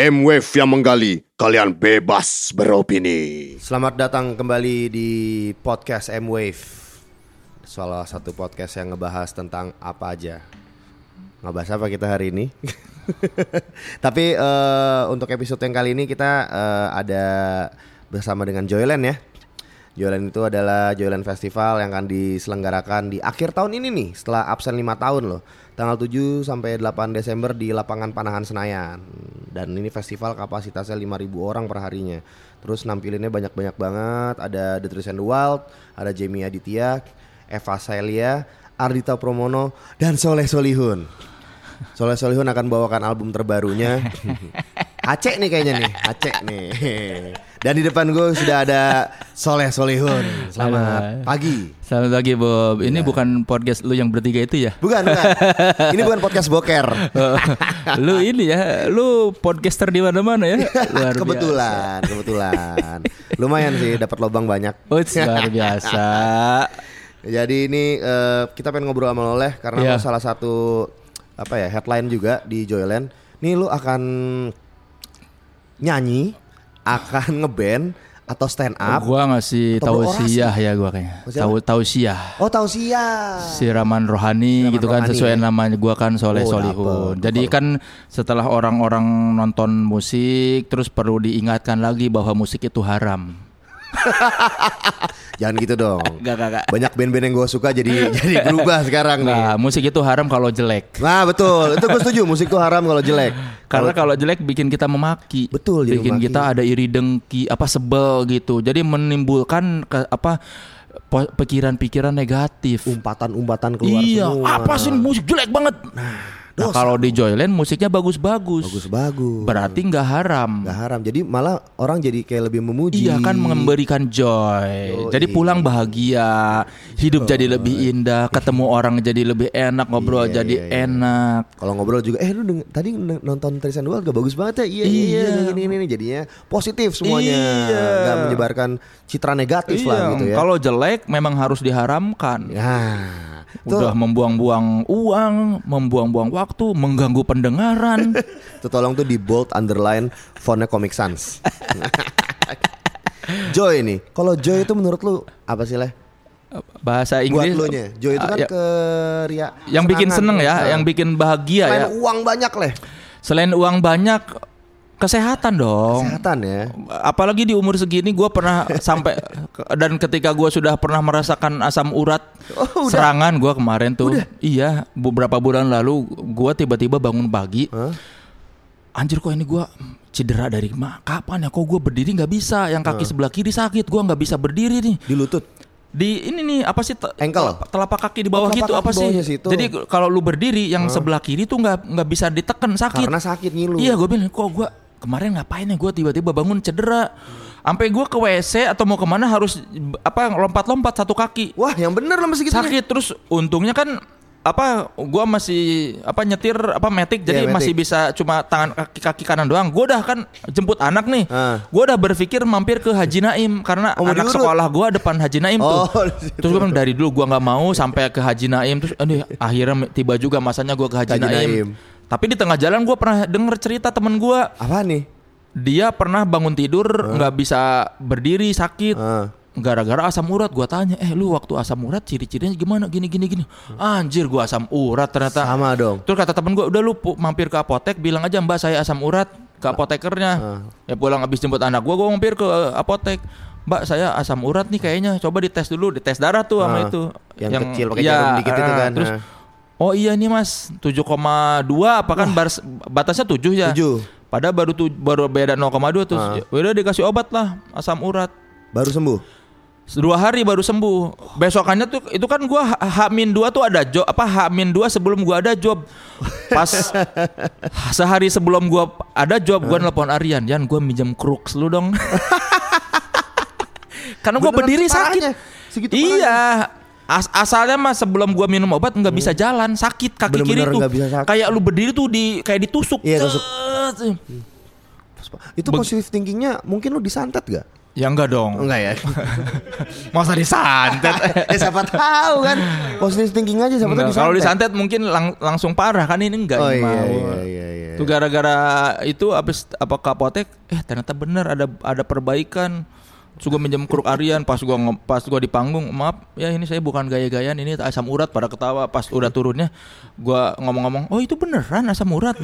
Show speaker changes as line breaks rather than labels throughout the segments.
M-Wave yang menggali, kalian bebas beropini.
Selamat datang kembali di podcast M Wave. Salah satu podcast yang ngebahas tentang apa aja. Ngebahas apa kita hari ini? Tapi eh, untuk episode yang kali ini kita eh, ada bersama dengan Joyland ya. Joyland itu adalah Joyland Festival yang akan diselenggarakan di akhir tahun ini nih setelah absen 5 tahun loh. Tanggal 7 sampai 8 Desember di lapangan Panahan Senayan. Dan ini festival kapasitasnya 5000 orang perharinya. Terus nampilinnya banyak-banyak banget, ada The Trees and the Wild, ada Jamie Aditya, Eva Celia, Ardita Promono, dan Soleh Solihun. Soleh Solihun akan bawakan album terbarunya. Aceh nih kayaknya nih, Aceh nih. Dan di depan gue sudah ada Soleh Solihun. Selamat
Halo.
pagi.
Selamat pagi Bob. Ini
Iya.
bukan podcast lu yang bertiga itu ya?
Bukan, bukan. Ini bukan podcast boker.
lu ini ya, lu podcaster di mana-mana ya? Luar biasa.
Iya, kebetulan, kebetulan. Lumayan sih dapat lobang banyak.
Uits, luar biasa.
Jadi ini eh, kita pengen ngobrol sama Loleh karena
Iya.
lo salah satu apa ya headline juga di Joyland. Nih lu akan nyanyi, akan ngeband atau stand up.
Gua ngasih
Atau
tausiah ya gua kayaknya.
Masih
Tahu tausiah.
Oh tahu sia.
Siraman rohani
Siraman
gitu kan
rohani,
sesuai
ya.
nama gua kan Soleh
Oh, dapet,
Solihun. Jadi kan setelah orang-orang nonton musik terus perlu diingatkan lagi bahwa musik itu haram.
Jangan gitu dong.
Gak gak gak.
Banyak band-band yang gue suka jadi jadi berubah sekarang nih.
Nah, musik itu haram kalau jelek.
Nah betul, itu gue setuju. Musik tuh haram kalau jelek.
Karena kalau jelek bikin kita memaki.
Betul, jadi
bikin
memaki.
kita ada iri dengki, apa sebel gitu. Jadi menimbulkan ke, apa po- pikiran-pikiran negatif.
umpatan-umpatan keluar
Iya,
semua.
apa sih musik jelek banget.
dosa.
Nah, kalau di Joyland musiknya bagus-bagus.
Bagus-bagus.
Berarti nggak haram.
Nggak haram. Jadi malah orang jadi kayak lebih memuji.
Iya kan memberikan joy.
Yoi.
Jadi pulang bahagia, hidup jadi lebih indah, ketemu orang jadi lebih enak, ngobrol
Iya,
jadi enak.
Kalau ngobrol juga, eh lu deng- tadi n- nonton Trisan Dual gak bagus banget ya? Iya, iya, iya. kayak Gini, gini, gini. Jadinya positif semuanya.
Iya.
Gak menyebarkan citra negatif lah
Iya,
gitu ya.
kalau jelek memang harus diharamkan.
Nah, itu,
Udah membuang-buang uang, membuang-buang waktu, mengganggu pendengaran.
itu tolong tuh di bold underline fontnya Comic Sans. Joy nih, kalau Joy itu menurut lu apa sih leh?
Bahasa
Buat
Inggris.
lu nya, Joy itu
Ah,
kan
ya.
ke ria. Nah,
yang bikin seneng ya, yang bikin bahagia
Main
ya.
uang banyak leh,
Selain uang banyak, kesehatan dong.
kesehatan ya.
apalagi di umur segini gue pernah sampai dan ketika gue sudah pernah merasakan asam urat
Oh, udah.
serangan gue kemarin tuh iya beberapa bulan lalu gue tiba-tiba bangun pagi
Hah?
anjir kok ini gue cedera dari ma kapan ya kok gue berdiri nggak bisa yang kaki sebelah kiri sakit gue nggak bisa berdiri nih
Di lutut.
di ini nih apa sih te-
Ankle?
telap- telapak kaki di
Oh,
bawah
telapak
gitu
kaki
apa sih
bawahnya situ.
jadi kalau lu berdiri yang sebelah kiri tuh nggak nggak bisa diteken sakit
Karena sakit ngilu.
Iya gue bilang kok gue kemarin ngapain ya gue tiba-tiba bangun cedera Sampai gue ke WC atau mau kemana harus b- apa lompat-lompat satu kaki
Wah, yang bener lah mesti gitu.
Sakit terus untungnya kan apa gua masih apa nyetir apa metik jadi
Iya, matic.
masih bisa cuma tangan kaki kaki kanan doang gue udah kan jemput anak nih
Ah.
gue udah berpikir mampir ke Haji Naim karena
Oh, mau
anak
diurut.
sekolah gua depan Haji Naim
Oh,
tuh
di situ.
terus gue bilang dari dulu gua nggak mau sampai ke Haji Naim terus aduh, akhirnya tiba juga masanya gua ke Haji,
Haji
Naim.
Naim.
tapi di tengah jalan gua pernah denger cerita temen gua
Apa nih?
dia pernah bangun tidur nggak bisa berdiri sakit
Ah.
gara-gara asam urat gua tanya eh lu waktu asam urat ciri-cirinya gimana gini gini gini anjir gua asam urat ternyata
Sama dong.
terus kata temen gua udah lu pu- mampir ke apotek bilang aja mbak saya asam urat ke apotekernya
Ah,
ya pulang abis jemput anak gua gua mampir ke eh, apotek mbak saya asam urat nih kayaknya coba dites dulu dites darah tuh sama
Ah.
itu
Yang kecil pakai jarum dikit itu
ah,
kan,
terus
ah.
Oh iya nih mas 7,2 apa kan bars- batasnya 7 ya
7.
Padahal baru tuh baru beda 0,2 terus
Ah.
ya udah dikasih obat lah asam urat.
Baru sembuh.
Dua hari baru sembuh. Besokannya tuh itu kan gua H- H-2 tuh ada job apa H-2 sebelum gua ada job. Pas sehari sebelum gua ada job gua nelpon Aryan, "Yan, gua minjem crux lu dong." Karena gua
Beneran Gitu
berdiri
parahnya.
sakit.
Segitu
iya. As- asalnya mah sebelum gua minum obat nggak bisa jalan, sakit
Hmm.
kaki
Bener-bener
kiri tuh.
nggak bisa sakit.
Kayak lu berdiri tuh di kayak ditusuk.
Iya, tusuk.
Cet.
Itu positif thinkingnya mungkin lu disantet gak?
Ya enggak dong.
Enggak ya?
Masa disantet?
eh siapa tahu kan? Positive thinking aja siapa tahu
Enggak, Kalau disantet mungkin lang- langsung parah kan ini enggak
Oh
ini
iya
mau.
iya iya iya.
Itu gara-gara itu habis apa kapotek, eh ternyata bener ada ada perbaikan. Terus gue minjem keruk Aryan pas gua nge- pas gua di panggung, maaf ya ini saya bukan gaya-gayaan ini asam urat pada ketawa pas udah turunnya gua ngomong-ngomong, "Oh, itu beneran asam urat."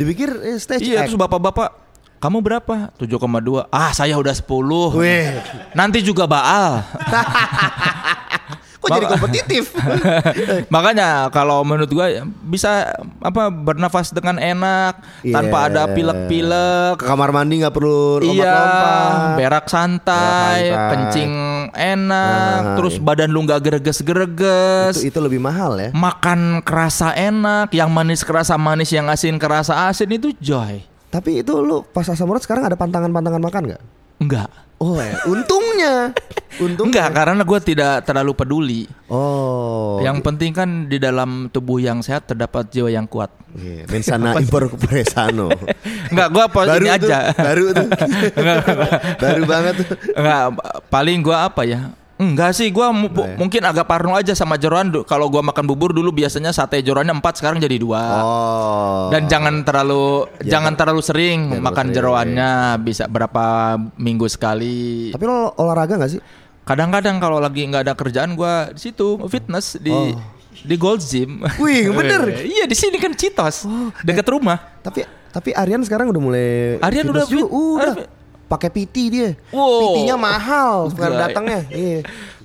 Dipikir eh, stage
iya,
act.
terus bapak-bapak kamu berapa? 7,2. Ah, saya udah 10.
Weh.
Nanti juga baal.
Kok jadi kompetitif?
Makanya kalau menurut gua bisa apa bernafas dengan enak
Iya.
tanpa ada pilek-pilek.
Ke kamar mandi nggak perlu
Iya,
lompat-lompat.
berak santai,
Berak santai.
kencing enak,
Nah,
terus badan lu nggak
Itu,
greges-greges.
itu lebih mahal ya.
Makan kerasa enak, yang manis kerasa manis, yang asin kerasa asin itu joy.
Tapi itu lu pas asam urat sekarang ada pantangan-pantangan makan nggak?
Enggak.
Oh ya, untungnya. Untung. ya.
Enggak, karena gue tidak terlalu peduli.
Oh.
yang penting kan di dalam tubuh yang sehat terdapat jiwa yang kuat.
Iya, mensana impor presano.
Enggak, gue apa ini
tuh,
aja.
baru tuh. baru banget tuh.
Enggak, paling gua apa ya? Enggak sih, gua mu-
ya?
mungkin agak parno aja sama jeroan. Du- Kalau gua makan bubur dulu biasanya sate jeroannya 4, sekarang jadi dua.
Oh. Iya,
Dan jangan terlalu jangan terlalu sering
sering.
makan
iya,
jeroannya, bisa berapa minggu sekali.
Tapi lo olahraga gak sih?
Kadang-kadang kalau lagi nggak ada kerjaan gua di situ fitness di di Gold Gym.
Oh. Wih, bener. Oh,
iya, di sini kan Citos, dekat rumah.
Tapi tapi Aryan sekarang udah mulai
Aryan
fitness
udah
juga.
fit.
udah
Aryan-
pakai PT dia.
Wow. ya.
PT-nya mahal bukan
Gila.
datangnya. Iya.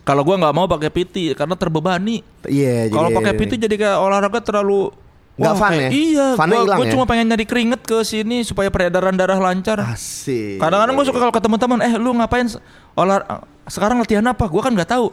Kalau gua nggak mau pakai PT karena terbebani.
Iya,
Kalau
jadi-
pakai PT jadi kayak olahraga terlalu
Nggak
Wah,
fun
kayak-
ya?
Iya,
Funnya
gua,
hilang
gua
ya?
cuma pengen nyari keringet ke sini supaya peredaran darah lancar.
Asik.
Kadang-kadang gue suka kalau ketemu teman, eh lu ngapain se- olah sekarang latihan apa? Gua kan nggak tahu.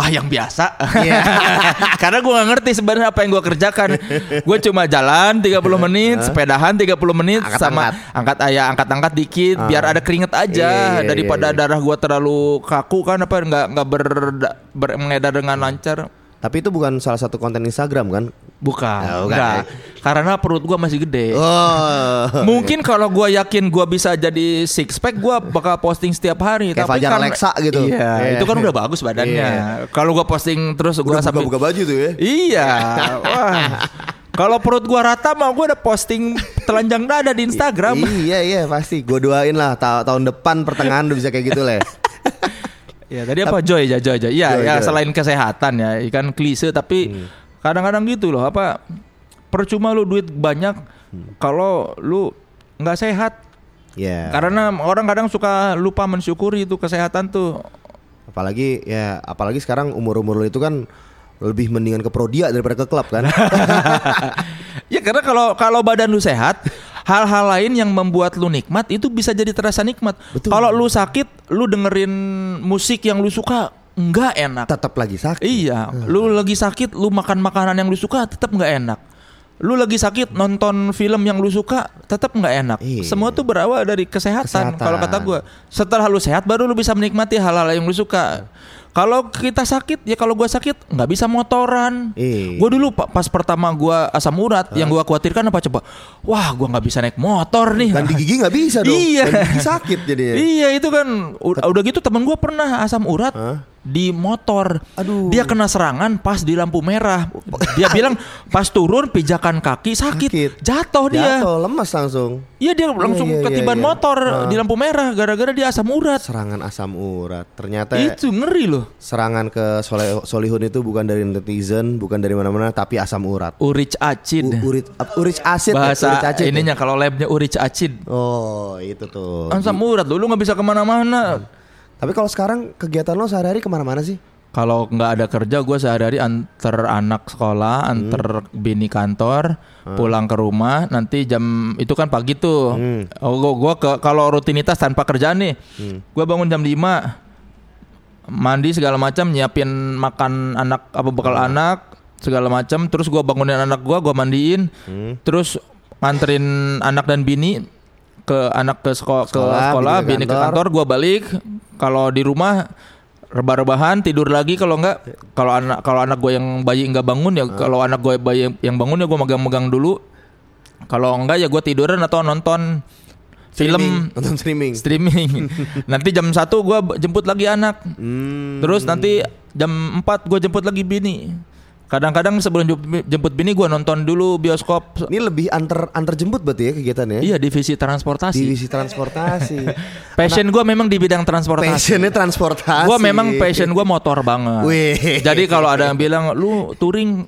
ah yang biasa.
Iya.
Karena gua nggak ngerti sebenarnya apa yang gua kerjakan. Gue cuma jalan 30 menit, sepedahan 30 menit
Angkat-angkat.
sama angkat ayah angkat-angkat dikit biar ada keringet
Iya,
aja
iya, iya.
daripada darah gua terlalu kaku kan apa nggak nggak ber- ber- mengedar dengan lancar.
Tapi itu bukan salah satu konten Instagram kan?
Bukan,
Oh, bukan,
enggak. Karena perut gua masih gede.
Oh.
Mungkin kalau gua yakin gua bisa jadi six pack, gua bakal posting setiap hari.
Kayak Fajar
karena-
Alexa gitu.
Iya,
Iya.
itu kan udah bagus badannya.
Iya.
Kalau gua posting terus gua sampai
buka baju tuh ya.
Iya. Wah. Kalau perut gua rata mah gua ada posting telanjang dada di Instagram.
Iya iya pasti. Gue doain lah ta- tahun depan pertengahan udah bisa kayak gitu les.
Ya, tadi apa joy ya joy joy. Iya,
Joy,
ya
joy. Hmm.
selain kesehatan ya, ikan klise tapi kadang-kadang gitu loh apa percuma lu duit banyak
Hmm.
kalau lu nggak sehat
Iya.
Karena orang kadang suka lupa mensyukuri itu kesehatan tuh.
Apalagi ya apalagi sekarang umur-umur lu itu kan lebih mendingan ke prodia daripada ke klub kan.
ya karena kalau kalau badan lu sehat, hal-hal lain yang membuat lu nikmat itu bisa jadi terasa nikmat. Kalau lu sakit, lu dengerin musik yang lu suka nggak enak.
Tetap lagi sakit. Eh.
Iya, lu lagi sakit, lu makan makanan yang lu suka tetap nggak enak. Lu lagi sakit nonton film yang lu suka tetap nggak enak.
Iya.
Semua tuh berawal dari kesehatan.
Kesehatan.
Kalau kata gua, setelah lu sehat baru lu bisa menikmati hal-hal yang lu suka. Kalau kita sakit ya kalau gua sakit nggak bisa motoran.
Iya.
Gua dulu pa- pas pertama gua asam urat yang gua khawatirkan apa coba? Wah, gua nggak bisa naik motor nih.
Ganti gigi nggak bisa dong.
Iya.
Ganti gigi sakit jadinya.
Iya itu kan U- udah gitu temen gue pernah asam urat di motor.
Aduh.
Dia kena serangan pas di lampu merah. Dia bilang pas turun pijakan kaki sakit,
Sakit.
jatuh Oh, dia.
Jatuh lemas langsung.
Iya dia langsung
iya, iya,
ketiban
iya.
motor di lampu merah gara-gara dia asam urat.
Serangan asam urat. Ternyata
Itu ngeri loh.
serangan ke Sole- Solihun itu bukan dari netizen, bukan dari mana-mana, tapi asam urat.
Urich acid.
U- urit ap- urich acid ya,
Bahasa
urich acid ya?
ininya kalau labnya urich acid.
Oh, itu tuh.
Asam urat loh, lu nggak bisa kemana-mana.
Tapi kalau sekarang kegiatan lo sehari-hari kemana-mana sih?
Kalau nggak ada kerja, gue sehari-hari antar anak sekolah,
Hmm.
antar bini kantor,
Ah.
pulang ke rumah. Nanti jam itu kan pagi tuh.
Hmm.
Oh, gue ke kalau rutinitas tanpa kerjaan nih, gue bangun jam 5 mandi segala macam, nyiapin makan anak apa bekal
Ah.
anak segala macam. Terus gue bangunin anak gue, gue mandiin.
Hmm.
Terus nganterin anak dan bini ke anak ke sekolah,
Sekolah,
ke sekolah,
bini ke
bini ke
kantor.
kantor gua balik kalau di rumah rebah-rebahan tidur lagi kalau enggak kalau anak kalau anak gue yang bayi nggak bangun ya kalau anak gue bayi yang bangun ya gue megang-megang dulu kalau enggak ya gue tiduran atau nonton film
nonton streaming.
streaming. nanti jam 1 gua b- jemput lagi anak.
Hmm.
Terus nanti jam 4 gua jemput lagi bini. Kadang-kadang sebelum jem- jemput bini gua nonton dulu bioskop.
Ini lebih antar antar jemput berarti ya kegiatannya.
Iya, divisi transportasi.
Divisi transportasi.
Passion gua memang di bidang transportasi.
Passionnya transportasi.
Gua memang passion gua motor banget.
Wih.
Jadi kalau ada yang bilang lu touring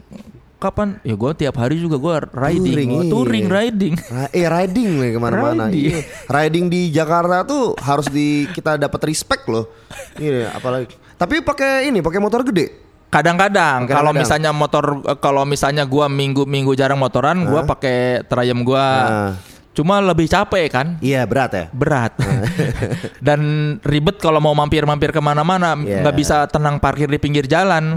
kapan? Ya gua tiap hari juga gua riding,
Touring,
Oh,
iya.
touring riding.
Ra- eh riding nih kemana-mana.
Riding.
Iya. Riding di Jakarta tuh harus di kita dapat respect loh. Iya, apalagi. Tapi pakai ini, pakai motor gede.
Kadang-kadang
Kadang-kadang.
kalau misalnya motor eh, kalau misalnya gua minggu-minggu jarang motoran, gua pakai Triumph gua.
Ah.
Cuma lebih capek kan?
Iya berat ya.
berat dan ribet kalau mau mampir-mampir kemana-mana
Yeah.
nggak bisa tenang parkir di pinggir jalan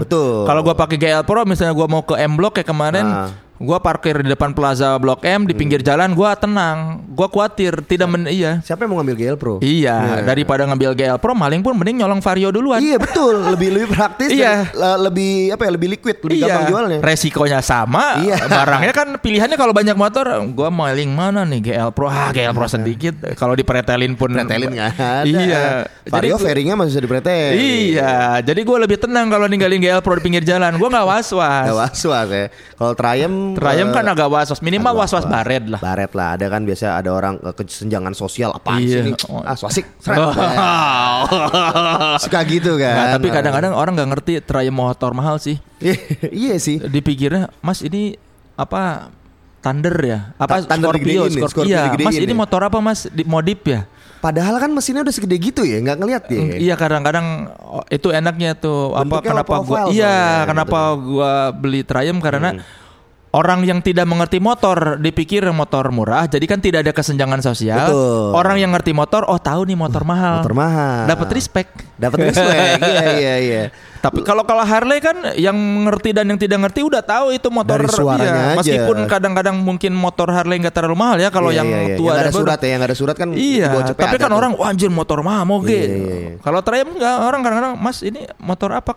Iya. Betul.
kalau gua pakai GL Pro misalnya gua mau ke M Block kayak kemarin
Ah. Hmm.
gua parkir di depan Plaza Blok M di pinggir jalan gua tenang gua khawatir tidak men iya
Siapa yang mau ngambil GL Pro?
iya daripada ngambil GL Pro maling pun mending nyolong Vario duluan
Iya betul, lebih lebih praktis, dan
Iya.
le- lebih apa ya, lebih liquid, lebih gampang jualnya.
resikonya sama.
Iya.
Barangnya kan pilihannya kalau banyak motor, gua maling mana nih GL Pro? Ah, GL Pro sedikit. Kalau dipretelin pun
Iya. Pretelin nggak ada.
Iya.
Vario
gua-
fairingnya masih bisa dipretel.
Iya, jadi gue lebih tenang kalau ninggalin GL Pro di pinggir jalan. Gue nggak was-was.
Gak was-was ya. Kalau Triumph
Triumph
eh,
kan agak was-was, minimal
agak
was-was baret lah.
Baret lah. Ada kan biasa ada orang eh, kesenjangan sosial apa
Iya.
sih ini?
Oh.
Ah, swasik. seret.
Oh.
Suka gitu kan.
Nah, tapi kadang-kadang orang nggak ngerti Triumph motor mahal sih.
iya sih.
Dipikirnya, Mas ini apa Thunder ya? Apa
Ta- Thunder
Scorpio?
digedein nih,
Scorpio.
Scorpio
Iya,
digedein
Mas ini
nih."
motor apa Mas? Di, modif ya?
Padahal kan mesinnya udah segede gitu ya, nggak ngeliat ya.
Iya kadang-kadang oh, itu enaknya tuh apa
Bentuknya
kenapa
oval
gua
soalnya,
iya
gitu. Hmm.
kenapa gua beli Triumph karena orang yang tidak mengerti motor dipikir motor murah jadi kan tidak ada kesenjangan sosial.
Betul.
Orang yang ngerti motor oh tahu nih motor mahal.
motor mahal.
Dapat respect.
Dapat respect. Iya iya iya.
Tapi kalau kalau Harley kan yang ngerti dan yang tidak ngerti udah tahu itu motor
Dari suaranya aja.
meskipun kadang-kadang mungkin motor Harley nggak terlalu mahal ya kalau
Iya,
yang
iya, iya.
tua
Yang
dan
ada
baru.
surat ya, yang ada surat kan
Iya,
gocep
tapi
ada
kan
tuh.
orang wah anjir motor mahal moge.
Iya, iya, iya.
Kalau Triumph enggak orang kadang-kadang Mas ini motor apa?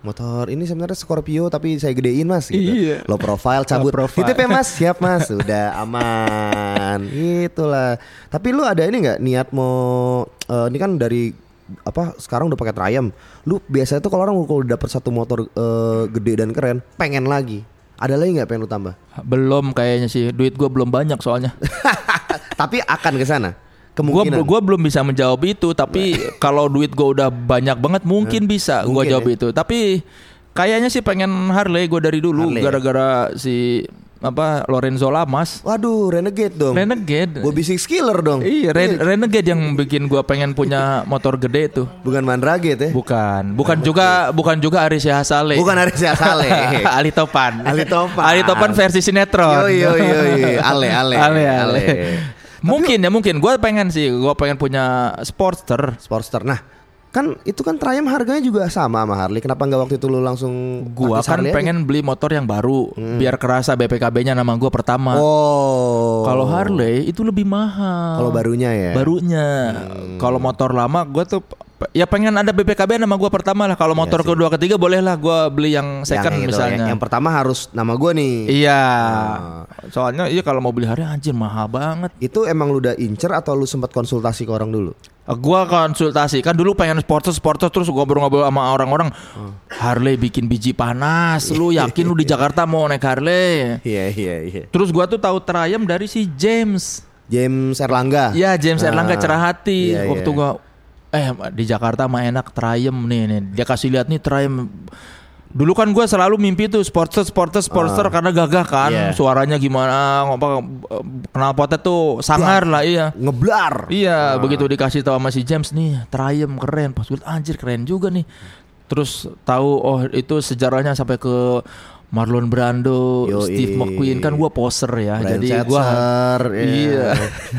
motor ini sebenarnya Scorpio tapi saya gedein mas gitu.
Iya.
Low profile cabut.
Low profile.
Titip ya mas, siap mas, sudah aman. Itulah. Tapi lu ada ini nggak niat mau eh, ini kan dari apa sekarang udah pakai Triumph. Lu biasanya tuh kalau orang kalau dapet satu motor eh, gede dan keren, pengen lagi. Ada lagi nggak pengen lu tambah?
Belum kayaknya sih. Duit gua belum banyak soalnya.
tapi akan ke sana.
gua
Kemungkinan.
gua belum bisa menjawab itu, tapi kalau duit gua udah banyak banget mungkin bisa gua
Iya. mungkin
jawab
ya.
itu. Tapi kayaknya sih pengen Harley gua dari dulu
Harley ya?
gara-gara si apa Lorenzo Lamas.
Waduh, renegade dong.
Renegade.
Bobby Six Killer dong.
Iya, Ren- Renegade yang bikin gua pengen punya motor gede tuh.
Bukan Mandraget ya.
Bukan, bukan juga bukan juga Aris Yahasale.
Bukan Aris Yahasale.
Ali
Eh,
Topan.
Ali Topan.
Ali Topan versi sinetron.
Yo yo yo yo. Ale ale.
Ale, ale. Mungkin ya mungkin gue pengen sih gue pengen punya Sportster
Sportster. Nah, kan itu kan Triumph harganya juga sama sama Harley. Kenapa nggak waktu itu lu langsung
Gua
artis
kan
Harley aja? Hmm.
pengen beli motor yang baru Biar kerasa BPKB-nya nama gue pertama
Oh.
Kalau Harley itu lebih mahal
kalau Hmm. barunya ya.
Barunya Kalau motor lama gue tuh pe- Ya pengen ada BPKB nama gue pertama lah Kalau motor kedua ketiga boleh lah gue beli yang
Iya Yang
second
itu,
misalnya
yang, yang pertama Ah. harus nama gua nih.
Iya Soalnya iya kalau mau beli Harley anjir mahal banget
Itu emang lu udah incer atau lu sempat konsultasi ke orang dulu?
Eh, Gua konsultasi kan dulu pengen sporter sporter terus gua ngobrol-ngobrol sama orang-orang Harley bikin biji panas lu yakin lu di Jakarta mau naik Harley
Iya iya iya.
terus gua tuh tahu Triumph dari si James
James Erlangga. Ah.
ya James Erlangga Cerahati
Iya,
waktu
iya.
gua eh di Jakarta mah enak Triumph nih nih dia kasih lihat nih Triumph dulu kan gua selalu mimpi tuh sporter sporter sporter karena gagah kan
Ah. Iya.
suaranya gimana apa kenal potnya tuh sangar lah iya
Ngeblar.
Iya, begitu dikasih tahu sama si James nih, Triumph keren. Pas gue liat, anjir keren juga nih. Terus tahu oh itu sejarahnya sampai ke Marlon Brando,
Yoi.
Steve McQueen kan gua poser ya.
Brian
jadi gua
Setzer, ya.
Iya.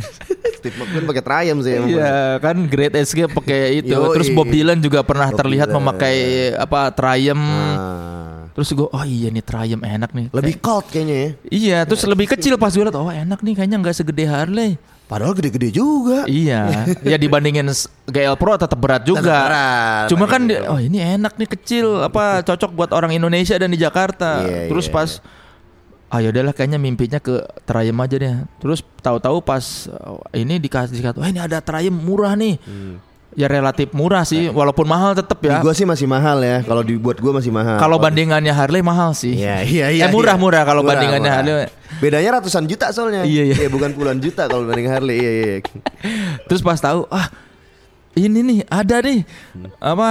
Steve McQueen pakai Triumph sih. emang.
Iya, kan Great Escape pakai itu.
Yoi.
Terus Bob Dylan juga pernah
Bob
terlihat
Dylan.
memakai apa Triumph.
Ah.
Terus gua oh iya nih Triumph enak nih.
Lebih
Kayak-
cold kayaknya ya.
Iya, terus lebih kecil pas gue liat, oh enak nih kayaknya nggak segede Harley.
Padahal gede-gede juga.
Iya, ya dibandingin s- GL Pro tetap berat juga.
Tetap berat,
Cuma kan
dibandingin
di- oh ini enak nih kecil, apa cocok buat orang Indonesia dan di Jakarta.
Iya,
Terus
iya,
pas ah yaudahlah kayaknya mimpinya ke Terayem aja deh. Terus tahu-tahu pas uh, ini dikasih dikata, wah ini ada Terayem murah nih. Ya relatif murah sih, walaupun mahal tetap
Hmm. Nah. Di
ya.
gua sih masih mahal ya. Kalau dibuat gua masih mahal.
Kalau bandingannya Harley mahal sih.
Iya, iya, iya.
Eh
iya.
murah-murah kalau
Murah,
bandingannya
murah.
Harley.
Bedanya ratusan juta soalnya. Eh,
Iya, iya.
bukan puluhan juta kalau banding Harley. Iya, iya.
Terus pas tahu ah ini nih ada nih
Hmm.
apa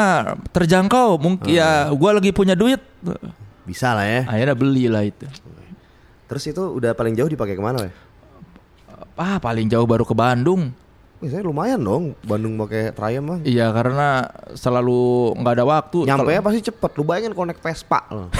terjangkau mungkin ya gua lagi punya duit.
Bisa lah ya.
Akhirnya belilah itu.
Terus itu udah paling jauh dipakai kemana ya?
Ah paling jauh baru ke Bandung.
Wih, saya lumayan dong Bandung pakai Triumph mah.
Iya karena selalu nggak ada waktu.
Nyampe
Kalau-
pasti cepet. Lu bayangin connect Vespa loh.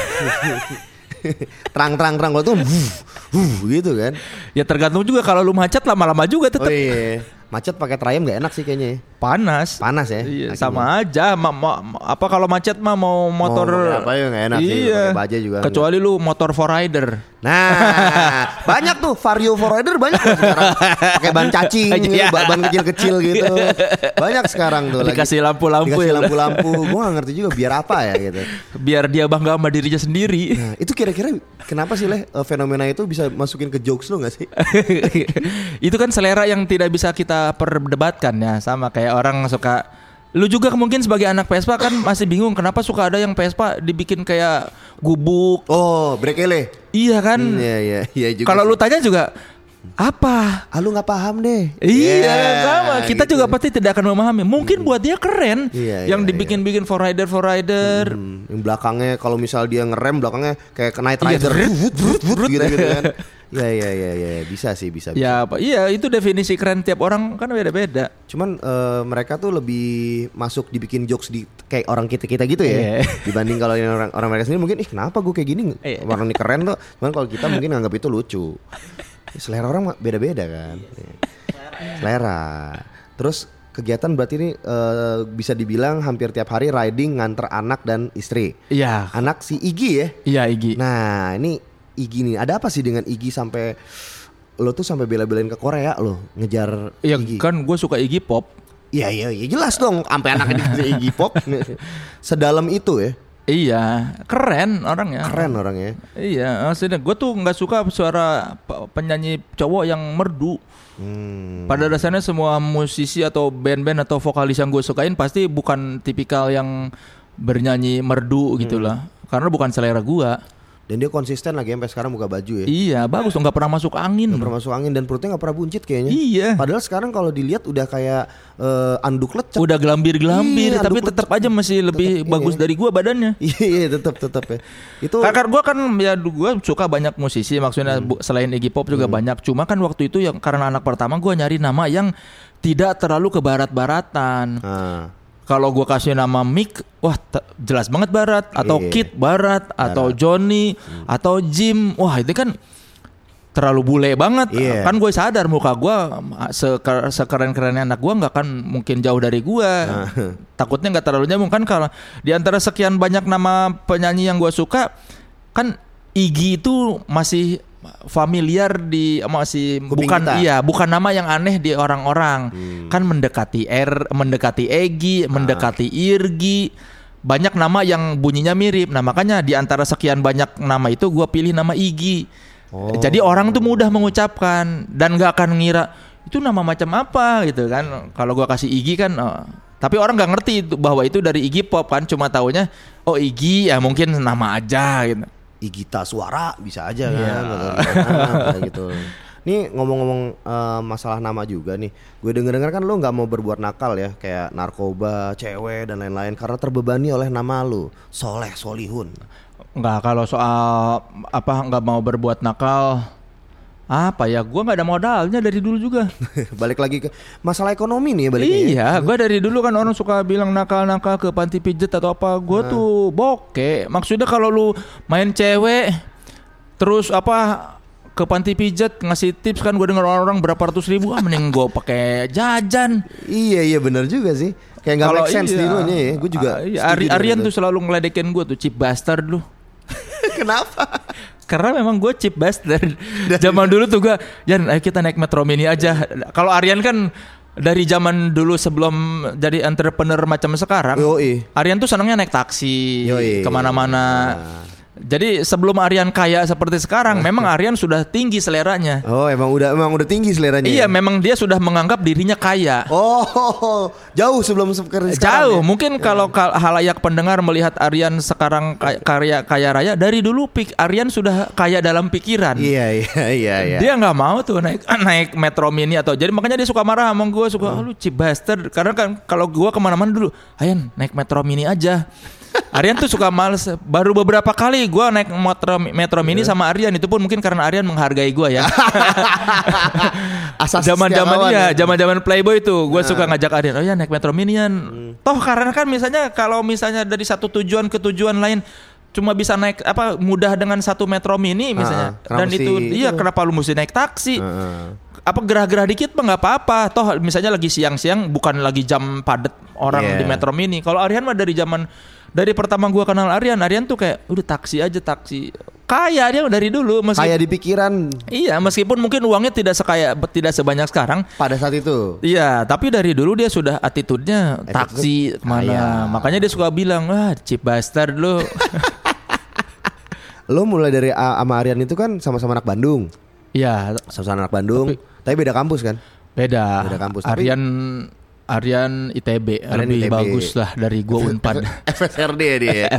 terang terang terang kalau tuh wuh, wuh, gitu kan.
Ya tergantung juga kalau lu macet lama-lama juga
Oh
tetap
iya. Macet pakai Triumph gak enak sih kayaknya. ya.
panas.
Panas ya.
Iya,
kakinya.
sama aja. Ma- ma- ma- apa kalau macet mah mau motor
pakai apa ya, nggak enak sih.
Iya.
Pakai baja juga
Kecuali lu motor 4Rider.
Nah, banyak tuh Vario Forerunner banyak tuh sekarang. Pakai ban cacing,
Iya.
gitu, ban ban kecil-kecil gitu. Banyak sekarang tuh lagi.
Dikasih lampu-lampu
Dikasih
ya.
lampu-lampu. Gua gak ngerti juga biar apa ya gitu.
Biar dia bangga sama dirinya sendiri.
Nah, itu kira-kira kenapa sih leh eh, fenomena itu bisa masukin ke jokes lu gak sih?
itu kan selera yang tidak bisa kita perdebatkan ya sama kayak orang suka lu juga mungkin sebagai anak Vespa kan masih bingung kenapa suka ada yang Vespa dibikin kayak gubuk
Oh, brekele.
iya kan
Iya iya iya juga.
kalau lu
sih.
tanya juga apa
ah, lu nggak paham deh.
Iya,
Yeah,
sama. Kita
gitu.
juga pasti tidak akan memahami. Mungkin buat dia keren,
Iya,
yang
iya,
dibikin-bikin for rider, for rider.
Hmm, yang belakangnya kalau misal dia ngerem belakangnya kayak kena rider
brut,
Wut, wut, wut,
brut.
gitu gitu kan. Iya iya iya iya bisa sih bisa. bisa.
Ya, apa? Iya, itu definisi keren tiap orang kan beda-beda.
Cuman eh, mereka tuh lebih masuk dibikin jokes di kayak orang kita kita gitu ya,
Iya.
dibanding kalau yang orang orang mereka sendiri mungkin ih kenapa gue kayak gini
Iya.
orang ini keren tuh, cuman kalau kita mungkin nganggap itu lucu. Selera orang mah beda-beda kan, selera. Terus kegiatan berarti ini eh, bisa dibilang hampir tiap hari riding nganter anak dan istri.
Iya,
Anak si Igi ya.
iya Igi.
Nah ini Igi nih, ada apa sih dengan Igi sampai lo tuh sampai bela-belain ke Korea lo ngejar
Iya
Iggy?
kan, gue suka Igi pop.
Iya iya iya jelas dong sampai anaknya dikasih Iggy Pop. Sedalam itu ya.
Iya, keren orangnya.
Keren orangnya.
Iya, maksudnya gue tuh nggak suka suara pe- penyanyi cowok yang merdu.
Hmm.
Pada dasarnya semua musisi atau band-band atau vokalis yang gue sukain pasti bukan tipikal yang bernyanyi merdu gitu lah.
Hmm.
Karena bukan selera gua.
Dan dia konsisten lagi sampai sekarang buka baju ya.
Iya, bagus tuh nggak pernah masuk angin.
Nggak pernah masuk angin dan perutnya nggak pernah buncit kayaknya.
Iya.
Padahal sekarang kalau dilihat udah kayak eh, anduk lecek.
Udah gelambir-gelambir,
Iya,
tapi
aduh,
tetap aja masih lebih
tetep
bagus
ini.
dari gua badannya.
Iya iya tetap tetap ya. Itu Hmm.
Karena gue kan ya gue suka banyak musisi maksudnya bu- selain Iggy Pop juga banyak cuma kan waktu itu yang karena anak pertama gue nyari nama yang tidak terlalu ke barat-baratan
Nah,
kalau gue kasih nama Mick wah te- jelas banget barat atau
Iya. Hmm.
Kid barat atau Johnny atau Jim wah itu kan terlalu bule banget
Iya.
kan gue sadar muka gue sekeren kerennya anak gue nggak akan mungkin jauh dari gue
Nah.
takutnya nggak terlalu nyambung kan kalau di antara sekian banyak nama penyanyi yang gue suka kan Iggy itu masih familiar di masih
Kuping
bukan
kita. Hmm.
iya bukan nama yang aneh di orang-orang kan mendekati R mendekati
Ah.
Egi mendekati Irgi banyak nama yang bunyinya mirip nah makanya di antara sekian banyak nama itu gua pilih nama Igi
Oh.
jadi orang tuh mudah mengucapkan dan nggak akan ngira itu nama macam apa gitu kan kalau gua kasih Igi kan oh. tapi orang nggak ngerti itu, bahwa itu dari Igi Pop kan cuma taunya oh Igi ya mungkin nama aja gitu
Igita suara bisa aja
Iya.
kan atau gimana, gitu. Nih ngomong-ngomong eh, masalah nama juga nih, gue denger-denger kan lo nggak mau berbuat nakal ya, kayak narkoba, cewek dan lain-lain karena terbebani oleh nama lo, Soleh Solihun.
Nggak, kalau soal apa nggak mau berbuat nakal apa ya gua nggak ada modalnya dari dulu juga
Balik lagi ke masalah ekonomi nih ya baliknya. ya.
iya gua dari dulu kan orang suka bilang nakal nakal ke panti pijet atau apa gua
Nah.
tuh bokeh maksudnya kalau lu main cewek terus apa ke panti pijet ngasih tips kan gua dengar orang-orang berapa ratus ribu ah mending gua pakai jajan
Iya iya benar juga sih. Kayak nggak make sense
iya.
di lu nya ya. Gue juga.
Ah, iya,
setuju
Ari-
dengan
Arian
itu.
tuh selalu ngeledekin gua tuh cheap bastard lu
Kenapa?
Karena memang gue cheap bastard Zaman dulu tuh gue Jan ayo kita naik Metro Mini aja Kalau Aryan kan Dari zaman dulu sebelum Jadi entrepreneur macam sekarang
Yoi.
Aryan tuh senangnya naik taksi
Yoi. Nah.
Kemana-mana Jadi sebelum Aryan kaya seperti sekarang, memang Aryan sudah tinggi seleranya.
Oh, emang udah emang udah tinggi seleranya.
Iya,
ya?
memang dia sudah menganggap dirinya kaya.
Oh, jauh sebelum sekarang.
Eh,
ya?
Jauh, mungkin kalau kal- halayak pendengar melihat Aryan sekarang kay- karya kaya raya dari dulu pik Aryan sudah kaya dalam pikiran.
Iya, iya, iya, iya.
Dia nggak mau tuh naik naik metro mini atau jadi makanya dia suka marah sama gue suka "Ah, lu cibaster karena kan kalau gue kemana-mana dulu Ayan naik metro mini aja. Aryan tuh suka males. Baru beberapa kali gue naik metro metro mini
Iya.
sama Aryan itu pun mungkin karena Aryan menghargai gue ya.
Asas
Zaman-zaman
setiawan ya.
iya,
Nah.
zaman-zaman Playboy itu gue suka ngajak Aryan, oh ya naik Metro Mini Yan."
Hmm.
Toh karena kan misalnya kalau misalnya dari satu tujuan ke tujuan lain cuma bisa naik apa mudah dengan satu Metro Mini misalnya.
Ah, kenapa
Dan itu
mesti
iya
itu?
kenapa lu mesti naik taksi?
Heeh.
Apa gerah-gerah dikit mah nggak apa-apa. Toh misalnya lagi siang-siang bukan lagi jam padet orang
Iya.
di Metro Mini. Kalau Aryan mah dari zaman dari pertama gua kenal Aryan, Aryan tuh kayak udah taksi aja taksi. Kaya dia dari dulu meskipun
Kayak di pikiran
Iya, meskipun mungkin uangnya tidak sekaya tidak sebanyak sekarang,
pada saat itu.
Iya, tapi dari dulu dia sudah attitude-nya
Attitude
taksi kemana.
kaya.
Makanya dia suka bilang, wah cheap bastard lu.
Lo mulai dari A sama Aryan itu kan sama-sama anak Bandung.
Iya,
Sama-sama anak Bandung, tapi, beda kampus kan?
beda.
Beda kampus, tapi-
Arian Arian ITB
Arian
lebih
ITB.
bagus lah dari gua Unpad.
FSRD ya dia.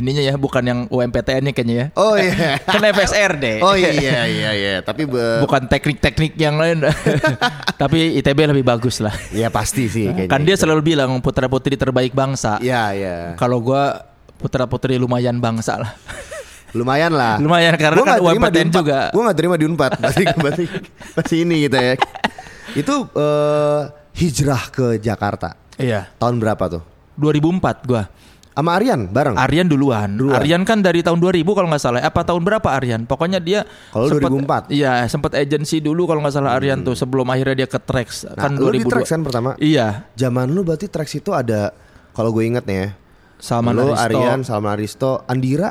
ya,
Oh iya.
Kan FSR deh.
Oh iya iya iya, tapi be-
Bukan teknik-teknik yang lain. tapi ITB lebih bagus lah.
ya pasti sih kayaknya.
Kan dia selalu bilang putra-putri terbaik bangsa.
Iya iya.
Kalau gua putra putri lumayan bangsa lah.
Lumayan lah.
Lumayan, karena
Gua
kan
nggak terima di
UMPTN
Unpad.
juga.
Gua nggak terima di Unpad. Berarti berarti masih ini kita ya. Itu eh, hijrah ke Jakarta.
Iya.
Tahun berapa tuh?
2004 gua.
Sama Aryan bareng.
Aryan duluan. Aryan kan dari tahun 2000 kalau nggak salah. Eh, Apa tahun berapa Aryan? Pokoknya dia
Kalau
sempet-
2004.
Iya, sempat agensi dulu kalau nggak salah Aryan tuh sebelum akhirnya dia ke Trax
Hmm. Nah,
kan
lu di
2002.
Trax kan pertama?
Iya.
Zaman lu berarti tracks itu ada kalau gue inget nih ya.
Salman
lu,
Aristo,
Aryan, Salman Aristo, Andira,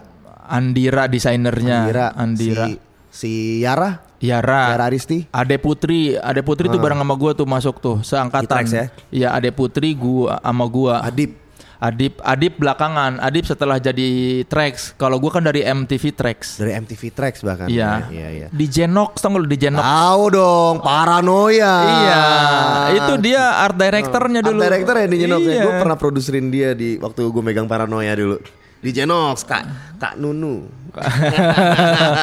Andira desainernya.
Andira,
Ya, Andira. Ah.
si, si Yara,
Yara.
Yara Aristi.
Ade Putri, Ade Putri tuh bareng sama gua tuh masuk tuh
Di
seangkatan.
Trax ya?
Iya, Ade Putri gua sama gua.
Adip.
Adip, Adip belakangan, Adip setelah jadi Trax. Kalau gua kan dari MTV Trax.
dari MTV Tracks bahkan.
Iya.
Iya, iya. Ah.
Di Jenox tau nggak lu di Jenox?
Tahu dong, paranoia.
Iya, itu dia art directornya dulu.
Art director ya di Genox
Iya.
Gue pernah produserin dia di waktu gue megang paranoia dulu. Di Genox, Kak, Kak Nunu.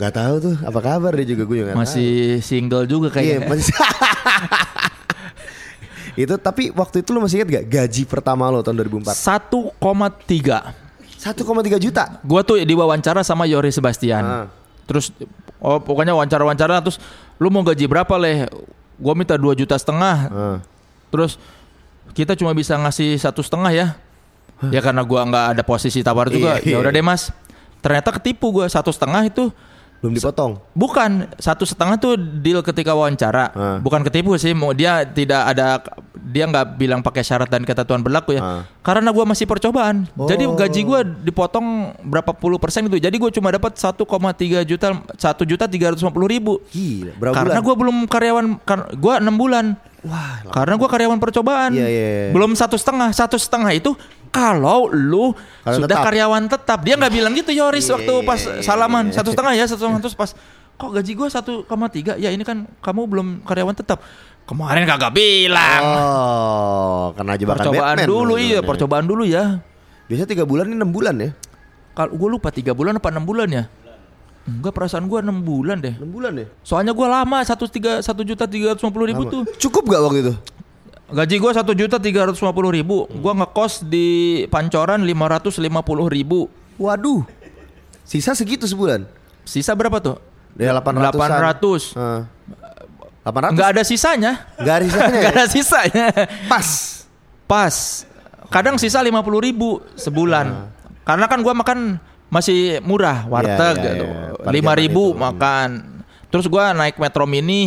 Gak tahu tuh apa kabar dia juga gue juga. nggak
Masih single juga
tahu. Iya,
kayaknya.
masih- itu tapi waktu itu lu masih ingat gak gaji pertama lo tahun 2004?
1,3.
1,3 juta.
Gua tuh diwawancara sama Yori Sebastian.
Ah.
Terus oh pokoknya wawancara-wawancara terus lu mau gaji berapa leh? Gua minta 2 juta setengah.
Heeh.
Terus kita cuma bisa ngasih satu setengah ya. Ya karena gua nggak ada posisi tawar juga.
Iya, iya,
Ya udah
iya.
deh Mas. Ternyata ketipu gua satu setengah itu
Belum dipotong.
Bukan satu setengah tuh deal ketika wawancara,
Ah.
bukan ketipu sih. Mau dia tidak ada, dia nggak bilang pakai syarat dan ketentuan berlaku ya.
Ah.
Karena gua masih percobaan, jadi
Oh.
gaji gua dipotong berapa puluh persen gitu. Jadi gue cuma dapat 1,3 juta, satu juta tiga ribu.
Gila, berapa
Karena
bulan?
gua belum karyawan, kar- gua enam bulan.
Wah, lama.
Karena gua karyawan percobaan,
Iya, iya, iya.
belum satu setengah, satu setengah itu kalau lu
Karyawan
sudah
tetap.
karyawan tetap dia nggak bilang gitu Yoris
Iya,
waktu
iya,
pas
iya,
salaman
iya.
satu setengah ya satu setengah terus pas kok gaji gua 1,3 ya ini kan kamu belum karyawan tetap kemarin kagak bilang
Oh, karena jebakan
percobaan
Batman
dulu
lu
iya
nih.
percobaan dulu ya
Biasanya tiga bulan ini enam bulan ya?
kalau gue lupa tiga bulan apa enam bulan ya enggak perasaan gua enam bulan deh
Enam bulan ya?
soalnya gua lama satu tiga satu juta tiga ratus ribu tuh
Cukup gak waktu itu?
Gaji gue satu juta tiga ratus lima puluh ribu,
Hmm.
gue ngekos di Pancoran lima ratus lima puluh ribu.
Waduh. Sisa segitu sebulan.
Sisa berapa tuh?
Ya 800.
800.
Delapan ratus.
Nggak ada sisanya.
Enggak ada sisanya
Nggak
ya?
ada sisanya.
Pas.
Pas. Kadang sisa lima puluh ribu sebulan. Karena kan gue makan masih murah warteg
Ah. Iya, iya,
gitu.
iya. Pada
lima
zaman
ribu
itu.
makan. Terus gue naik metro mini.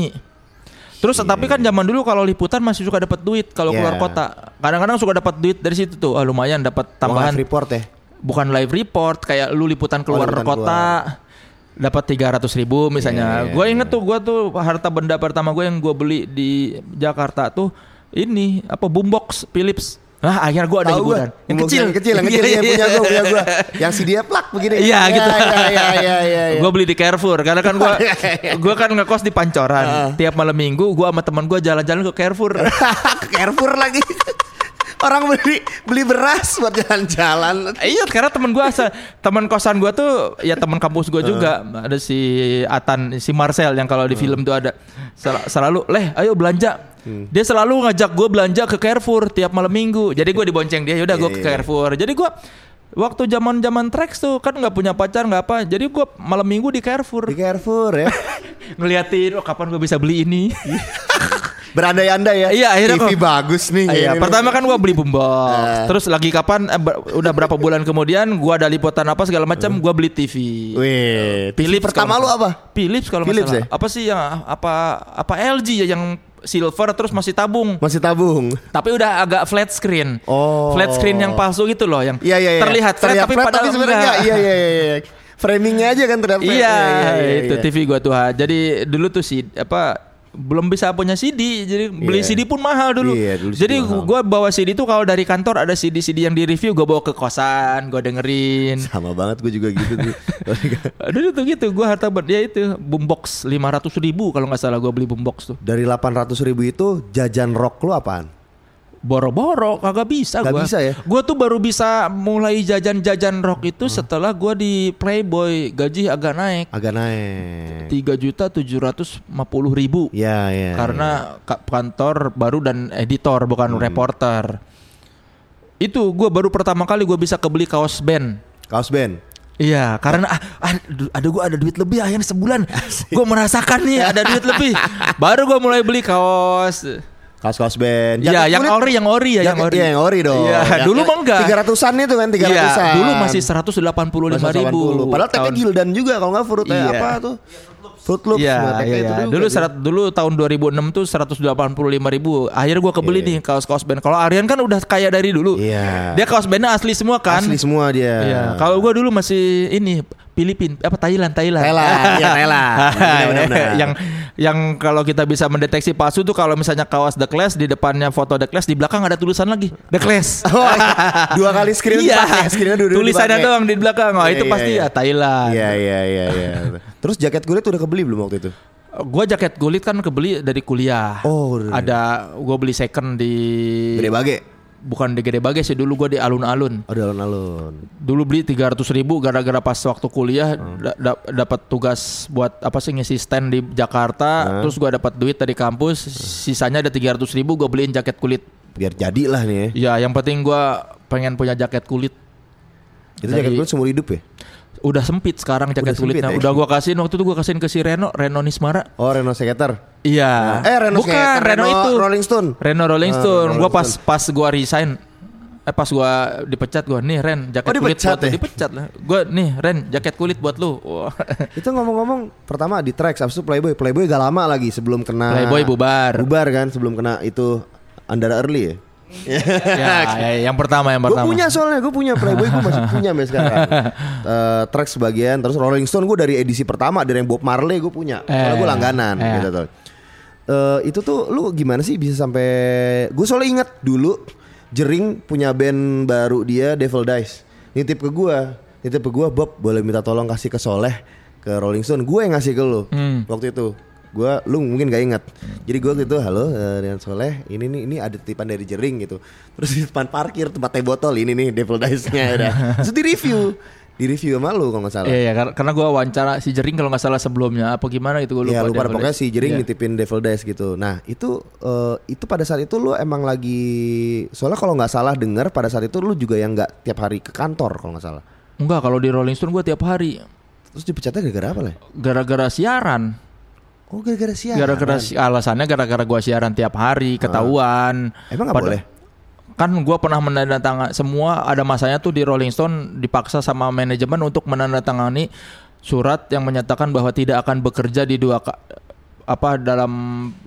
Terus tapi kan zaman dulu kalau liputan masih suka dapat duit kalau keluar
Iya.
kota. Kadang-kadang suka dapat duit dari situ tuh. Ah, lumayan dapat tambahan.
Tambahan report ya.
bukan live report kayak lu liputan keluar
Oh, liputan
kota dapat 300.000 ribu misalnya.
Iya, iya,
gue inget tuh gue tuh harta benda pertama gue yang gue beli di Jakarta tuh ini apa boombox Philips. Nah, akhirnya gue ada
Tahu gua.
hiburan. Yang
Ngomong
kecil,
yang kecil, yang kecil
Iya,
yang
iya.
punya gue, punya gue. Yang si dia plak begini.
Iya gitu.
Iya, iya, iya, iya. iya.
Gue beli di Carrefour karena kan gue gue kan ngekos di Pancoran. Tiap malam minggu gue sama teman gue jalan-jalan ke Carrefour.
Ke Carrefour lagi. Orang beli beli beras buat jalan-jalan.
Eh, Iya, karena temen gue asal teman kosan gue tuh ya teman kampus gue juga
Eh.
ada si Atan, si Marcel yang kalau di film tuh ada Sel- selalu leh ayo belanja.
Hmm.
Dia selalu ngajak gue belanja ke Carrefour tiap malam minggu. Jadi gue dibonceng dia, yaudah
Iya,
gue ke
iya.
Carrefour. Jadi gue waktu zaman zaman treks tuh kan nggak punya pacar nggak apa, jadi gue malam minggu di
Di
Carrefour
Carrefour ya.
ngeliatin, oh kapan gue bisa beli ini.
Berandai-andai ya.
Iya, akhirnya
TV
kok-
bagus nih.
Iya,
ini.
pertama kan gua beli boombox.
Eh.
Terus lagi kapan eh, ber- udah berapa bulan kemudian gua ada liputan apa
Eh.
segala macam, gua beli TV.
Oh, Wih,
Philips
Philips pertama
kalau
lu
nggak
apa?
salah. Philips kalau nggak
Philips
salah.
ya?
Apa sih yang apa apa LG ya yang silver terus masih tabung.
Masih tabung.
Tapi udah agak flat screen.
Oh.
Flat screen yang palsu gitu loh yang
Iya, iya, iya.
terlihat flat tapi
flat,
padahal
sebenarnya
enggak.
enggak. Iya, iya, iya, iya. Framingnya aja kan terlihat flat.
Iya,
iya,
itu
iya.
TV gua tuh. ha. Jadi dulu tuh si apa belum bisa punya CD, jadi beli
Iya.
CD pun mahal dulu.
Iya, dulu
jadi
CD mahal.
gua bawa CD tuh kalau dari kantor ada CD CD yang di-review gua bawa ke kosan, gua dengerin.
Sama banget gue juga gitu tuh.
Dulu tuh gitu, gua harta ber- ya itu boombox 500 ribu kalau nggak salah gua beli boombox tuh.
Dari 800 ribu itu jajan rock lu apaan?
Boro-boro kagak bisa
Nggak
gua.
bisa ya?
Gua tuh baru bisa mulai jajan-jajan rock itu
Hmm.
setelah gua di Playboy gaji agak naik.
Agak naik.
3 juta 750 ribu.
Iya, iya.
karena ka- kantor baru dan editor
Hmm.
bukan reporter itu gue baru pertama kali gue bisa kebeli kaos band
iya. kaos band.
Iya, karena ah, ah, du- ada gue ada duit lebih akhirnya sebulan. Gue merasakan nih ada duit lebih. Baru gue mulai beli kaos.
Kaos-kaos band.
Iya, yang
kulit-
ori, yang ori ya, yang, ori.
Iya, yang ori dong.
Iya,
Yang-
dulu mah enggak.
300-an itu kan, 300-an.
Iya, dulu masih 185 ribu.
180. Padahal tagnya Gildan juga kalau nggak Fruit eh,
Iya.
apa tuh? Fruit Loops.
Iya,
Nah, tagnya
iya,
itu
iya.
juga
Dulu
dia.
serat, dulu tahun 2006 tuh 185 ribu. Akhirnya gua kebeli nih kaos-kaos band. Kalau Aryan kan udah kaya dari dulu.
Iya.
Dia kaos bandnya asli semua kan.
asli semua dia.
Iya. Kalau gua dulu masih ini Filipin apa Thailand Thailand.
Thailand, iya, Thailand. Benar, benar, benar.
yang yang kalau kita bisa mendeteksi palsu tuh kalau misalnya kaos The Clash di depannya foto The Clash di belakang ada tulisan lagi The Clash.
Oh, dua kali screen
iya.
dipakai, screennya dua-dua
Tulisannya
dipakai.
doang di belakang. Oh,
Iya,
itu
iya,
pasti
iya.
ya Thailand.
Iya iya iya iya. Terus jaket kulit udah kebeli belum waktu itu?
Gua jaket kulit kan kebeli dari kuliah.
Oh, dari-
ada gua beli second di
Gede
Iya.
bage.
bukan di Gede Bage sih dulu gua di alun-alun.
Oh, di alun-alun.
Dulu beli 300 ribu gara-gara pas waktu kuliah
Hmm.
da- da- dapat tugas buat apa sih ngisi stand di Jakarta,
Hmm.
terus gua dapat duit dari kampus, sisanya ada 300 ribu gua beliin jaket kulit.
Biar jadilah nih ya.
Ya, yang penting gua pengen punya jaket kulit.
Itu
Dari-
jaket kulit seumur hidup ya?
Udah sempit sekarang
Udah
jaket
sempit
kulitnya.
ya?
Udah gua kasihin waktu itu gua kasihin ke si Reno, Reno Nismara.
Oh, Reno Seketer.
Iya.
Eh, Reno
Bukan,
Skater,
Reno,
Reno
itu.
Rolling Stone.
Reno Rolling
Ah,
Stone.
Rolling
gua pas pas gua resign. Eh pas gua dipecat gua nih Ren jaket
Oh,
kulit
dipecat
buat lu."
ya?
dipecat lah. Gua nih Ren jaket kulit buat lu. Wah.
Itu ngomong-ngomong pertama di tracks habis itu Playboy. Playboy gak lama lagi sebelum kena
Playboy bubar.
Bubar kan sebelum kena itu Andara Early ya.
ya, ya, yang pertama yang
Gue
pertama.
punya soalnya, gue punya Playboy, gue masih punya sampai sekarang. Eh, Trax sebagian, terus Rolling Stone gue dari edisi pertama dari yang Bob Marley gue punya. Soalnya gue
Eh,
langganan
eh.
gitu tuh. Eh, itu tuh lu gimana sih bisa sampai gue soalnya inget dulu Jering punya band baru dia Devil Dice nitip ke gue nitip ke gue Bob boleh minta tolong kasih ke Soleh ke Rolling Stone gue yang ngasih ke lu waktu itu gue lu mungkin gak inget jadi gue gitu halo eh, dengan Soleh ini nih ini ada titipan dari Jering gitu terus di depan parkir tempat teh botol ini nih Devil Dice nya ada terus di review di review sama lu kalau nggak salah
Iya, iya, kar- karena gua wawancara si Jering kalau nggak salah sebelumnya apa gimana gitu gua lupa.
Iya lupa
dia
pokoknya
nulis.
si Jering
Iya.
nitipin Devil Dice gitu. Nah itu eh, itu pada saat itu lu emang lagi soalnya kalau nggak salah dengar pada saat itu lu juga yang nggak tiap hari ke kantor kalau nggak salah.
Enggak, kalau di Rolling Stone gua tiap hari
Terus dipecatnya gara-gara apa lah?
gara-gara siaran.
Oh gara-gara siaran.
Gara-gara si- alasannya gara-gara gua siaran tiap hari ketahuan.
Emang nggak
Pada-
boleh?
Kan gua pernah menandatangani semua ada masanya tuh di Rolling Stone dipaksa sama manajemen untuk menandatangani surat yang menyatakan bahwa tidak akan bekerja di dua ka- apa dalam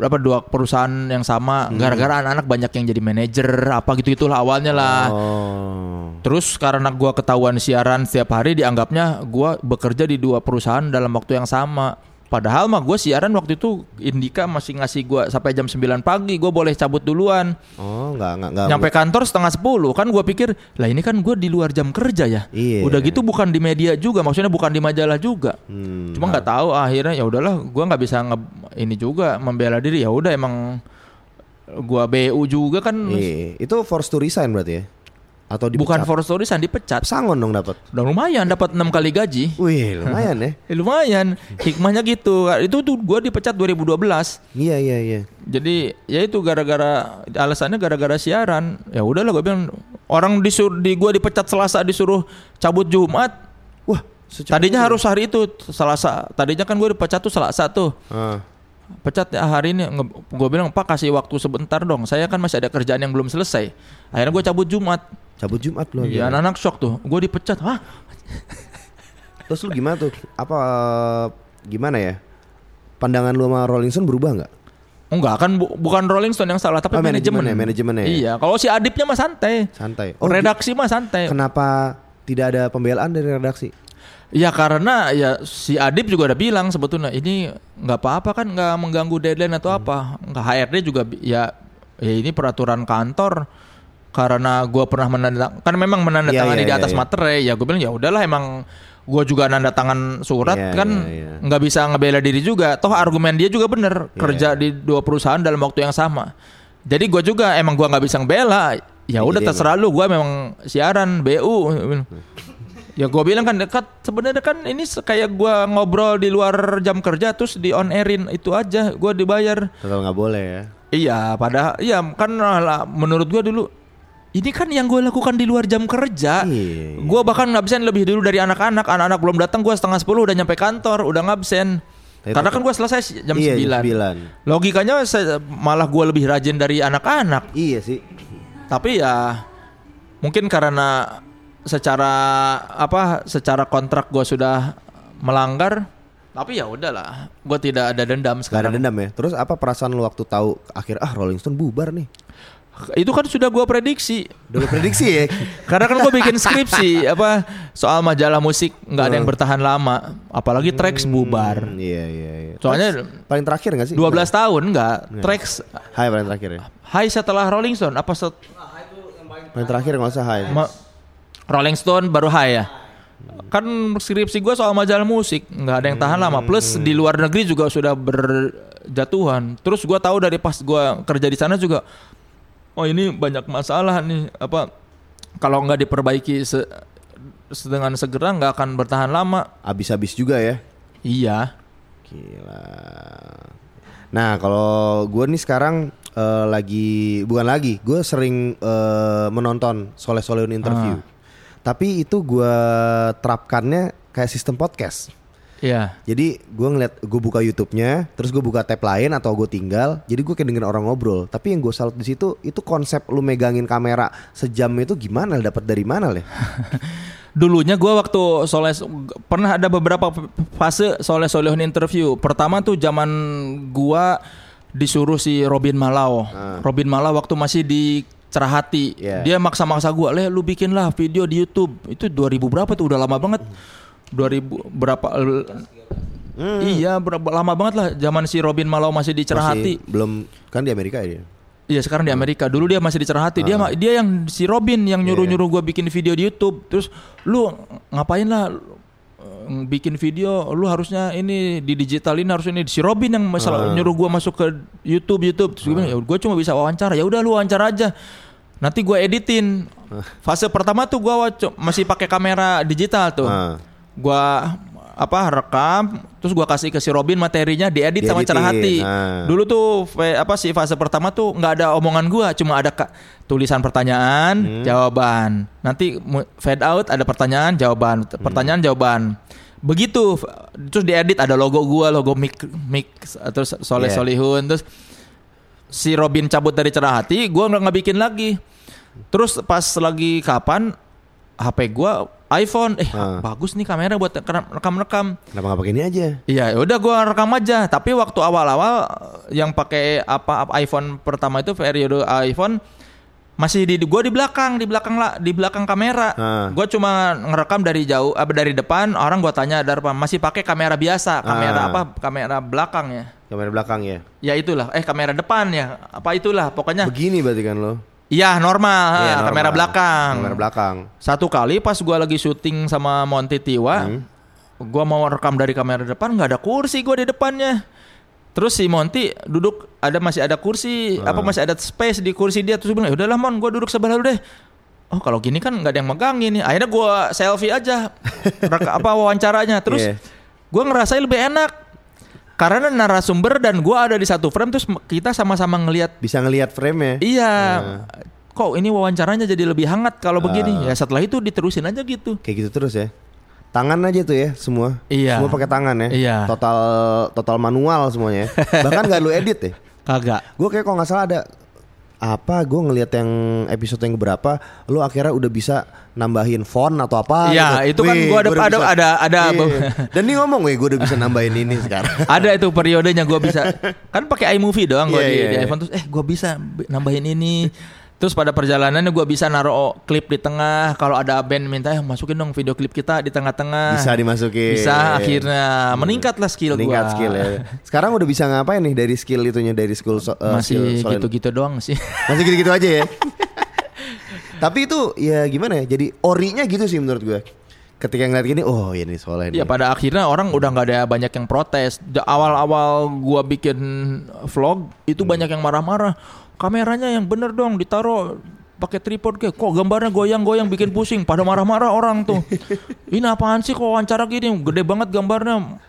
apa dua perusahaan yang sama gara-gara anak-anak banyak yang jadi manajer apa gitu itulah awalnya lah.
Oh.
Terus karena gua ketahuan siaran setiap hari dianggapnya gua bekerja di dua perusahaan dalam waktu yang sama. Padahal mah gue siaran waktu itu Indika masih ngasih gue sampai jam 9 pagi gue boleh cabut duluan
Oh, nggak nggak nggak.
Nyampe kantor setengah 10 Kan gue pikir Lah ini kan gue di luar jam kerja ya
Iya.
Udah gitu bukan di media juga Maksudnya bukan di majalah juga
Hmm.
Cuma nggak tahu akhirnya ya udahlah gue nggak bisa nge ini juga membela diri ya udah emang gua BU juga kan
Iya, itu force to resign berarti ya? Atau dipecat?
bukan for story Sandi pecat.
pesangon dong dapat.
Udah lumayan dapat enam kali gaji.
Wih, lumayan ya.
Eh, lumayan hikmahnya gitu itu tuh gue dipecat 2012
Iya, iya, iya.
jadi ya itu gara-gara alasannya gara-gara siaran ya udahlah gue bilang orang disuruh di gue dipecat Selasa disuruh cabut Jumat
Wah,
tadinya harus hari itu Selasa tadinya kan gue dipecat tuh Selasa tuh
Ah,
pecat ya hari ini gue bilang pak kasih waktu sebentar dong saya kan masih ada kerjaan yang belum selesai akhirnya gue cabut jumat
cabut Jumat lu.
ya
akhirnya.
anak-anak shock tuh gue dipecat hah
Terus lu gimana tuh? Apa eh, gimana ya? Pandangan lu sama Rolling Stone berubah nggak?
enggak kan bu- bukan Rolling Stone yang salah tapi
Oh,
manajemen
manajemennya, manajemennya ya. Oh,
iya kalau si Adipnya mah santai
Santai.
redaksi mah santai
Kenapa tidak ada pembelaan dari redaksi?
ya karena ya si Adip juga udah bilang sebetulnya ini nggak apa-apa kan nggak mengganggu deadline
Hmm.
atau apa nggak HRD juga bi- ya ya ini peraturan kantor karena gue pernah menandatangani kan memang menandatangani
Iya, iya,
di
iya,
atas
iya.
materai ya gue bilang ya udahlah emang gue juga nanda tangan surat
Iya,
kan
iya, iya.
nggak bisa ngebela diri juga toh argumen dia juga bener kerja di dua perusahaan dalam waktu yang sama jadi gue juga emang gue nggak bisa ngebela ya udah
dia
terserah lu gue memang siaran bu Ya gue bilang kan dekat sebenarnya kan ini se- kayak gua ngobrol di luar jam kerja terus di on airin itu aja gua dibayar.
Tetap nggak boleh ya.
Iya, padahal iya kan lah, menurut gua dulu ini kan yang gue lakukan di luar jam kerja.
Iya.
Gua bahkan ngabsen lebih dulu dari anak-anak. Anak-anak belum datang gua setengah sepuluh udah nyampe kantor, udah ngabsen.
Tapi
Karena
tetap-
kan gua selesai si- jam
iya, jam 9.
9. Logikanya saya- malah gua lebih rajin dari anak-anak.
Iya sih.
Tapi ya mungkin karena secara apa secara kontrak gue sudah melanggar. Tapi ya udahlah, gue tidak ada
Gak
dendam
ada
sekarang.
dendam ya. Terus apa perasaan lu waktu tahu akhir ah Rolling Stone bubar nih?
Itu kan sudah gue prediksi.
Udah lu prediksi ya.
Karena kan gue bikin skripsi apa soal majalah musik nggak ada yang bertahan lama, apalagi tracks bubar.
Hmm, Iya, iya, iya.
Soalnya
Paling terakhir gak sih?
12 tahun nggak tracks
Hai paling terakhir ya.
Hai setelah Rolling Stone apa set,
Paling terakhir nggak usah hai.
Ma- Rolling Stone baru high ya. Kan skripsi gue soal majalah musik, nggak ada yang tahan lama. Plus di luar negeri juga sudah berjatuhan. Terus gue tahu dari pas gue kerja di sana juga, oh ini banyak masalah nih apa kalau nggak diperbaiki se- se- dengan segera nggak akan bertahan lama.
Abis-abis juga ya.
Iya.
Gila. Nah kalau gue nih sekarang eh, lagi bukan lagi, gue sering eh, menonton Soleh Solehun interview. Tapi itu gue terapkannya kayak sistem podcast.
Iya.
Jadi gue ngeliat gue buka YouTube-nya, terus gue buka tab lain atau gue tinggal. Jadi gue kayak dengerin orang ngobrol. Tapi yang gue salut di situ itu konsep lu megangin kamera sejam itu gimana? Dapat dari mana leh?
Dulunya gue waktu soleh pernah ada beberapa f- fase soleh solehun interview. Pertama tuh zaman gua disuruh si Robin Malau. Robin Malau waktu masih di Cerahati,
Ah. Iya.
dia maksa-maksa gua, "Leh, lu bikinlah video di YouTube." Itu 2000 berapa tuh? Udah lama banget. 2000 berapa l- Iya, berapa lama banget lah zaman si Robin Malau masih di Cerahati.
Hmm. Masih belum kan di Amerika ya? dia?
Iya sekarang di Amerika. Dulu dia masih dicerahati. Dia ma- dia yang si Robin yang nyuruh-nyuruh gua bikin video di YouTube. Terus lu ngapain lah lu, eh, bikin video lu harusnya ini di digitalin harus ini si Robin yang masalah nyuruh gua masuk ke YouTube YouTube terus gua bilang ya gua cuma bisa wawancara ya udah lu wawancara aja nanti gua editin fase pertama tuh gua wac- masih pakai kamera digital tuh
Ah.
gua apa rekam terus gua kasih ke si Robin materinya diedit sama
Dieditin,
cerahati
ah.
dulu tuh fe- apa sih fase pertama tuh nggak ada omongan gua cuma ada ka- tulisan pertanyaan
Hmm.
jawaban nanti mu- fade out ada pertanyaan
Hmm.
jawaban T- pertanyaan jawaban begitu f- terus diedit ada logo gua logo mik mik terus soleh
Yeah.
solihun terus si Robin cabut dari cerah hati, gue nggak nggak bikin lagi. Terus pas lagi kapan HP gue iPhone, eh
Ah.
bagus nih kamera buat rekam-rekam.
Kenapa nggak pakai ini aja?
Iya, udah gue rekam aja. Tapi waktu awal-awal yang pakai apa apa iPhone pertama itu periode iPhone masih di gua di belakang, di belakang lah, di belakang kamera.
Ah.
Gua cuma ngerekam dari jauh apa dari depan, orang gua tanya dari depan, masih pakai kamera biasa, kamera
Ah.
apa? Kamera belakang ya.
Kamera belakang ya.
Ya itulah, eh kamera depan ya. Apa itulah pokoknya.
Begini berarti kan lo?
Iya, normal,
Iya,
ah,
normal.
kamera belakang.
Kamera belakang.
Satu kali pas gua lagi syuting sama Monty Tiwa,
Hmm.
gua mau rekam dari kamera depan nggak ada kursi gua di depannya. Terus si Monty duduk ada masih ada kursi,
Ah.
apa masih ada space di kursi dia terus dia bilang, "Udahlah Mon, gua duduk sebelah lu deh." Oh, kalau gini kan nggak ada yang megangin nih. Akhirnya gua selfie aja. Rek- apa wawancaranya. Terus
Iya.
gua ngerasain lebih enak. Karena narasumber dan gua ada di satu frame terus kita sama-sama ngelihat
Bisa ngelihat frame ya.
Iya. Kok ini wawancaranya jadi lebih hangat
Eh.
kalau begini? Ya setelah itu diterusin aja gitu.
Kayak gitu terus ya. Tangan aja tuh ya semua.
Iya.
Semua pakai tangan ya.
Iya.
Total total manual semuanya. ya. Bahkan nggak lu edit ya.
Kagak.
Gue kayak kalau nggak salah ada apa gue ngelihat yang episode yang berapa lu akhirnya udah bisa nambahin font atau apa gitu.
Iya, itu kan
Wih,
gua ada-
udah
ada-
bisa.
ada- ada-
Iya. dan dia ngomong weh gue udah bisa nambahin ini sekarang
Ada itu periodenya gua bisa. Kan pakai iMovie doang gua
Iya,
di,
iya,
di
iya.
iPhone terus eh gua bisa b- nambahin ini. Terus pada perjalanannya gua bisa naruh klip di tengah. Kalau ada band minta eh masukin dong video klip kita di tengah-tengah.
bisa dimasukin Hmm.
Bisa akhirnya meningkatlah skill
meningkat
gua.
skill ya sekarang udah bisa ngapain nih dari skill itunya dari skill so, eh, skill
Masih
soal-
gitu-gitu doang sih.
Masih gitu-gitu aja ya. Tapi itu ya gimana ya? Jadi orinya gitu sih menurut gue. Ketika ngeliat gini, oh ya ini soalnya ini.
Ya pada akhirnya orang udah nggak ada banyak yang protes. Da- Awal-awal gua bikin vlog itu
Hmm.
banyak yang marah-marah. Kameranya yang bener dong ditaruh pakai tripod kayak kok gambarnya goyang-goyang bikin pusing pada marah-marah orang tuh. Ini apaan sih kok wawancara gini gede banget gambarnya.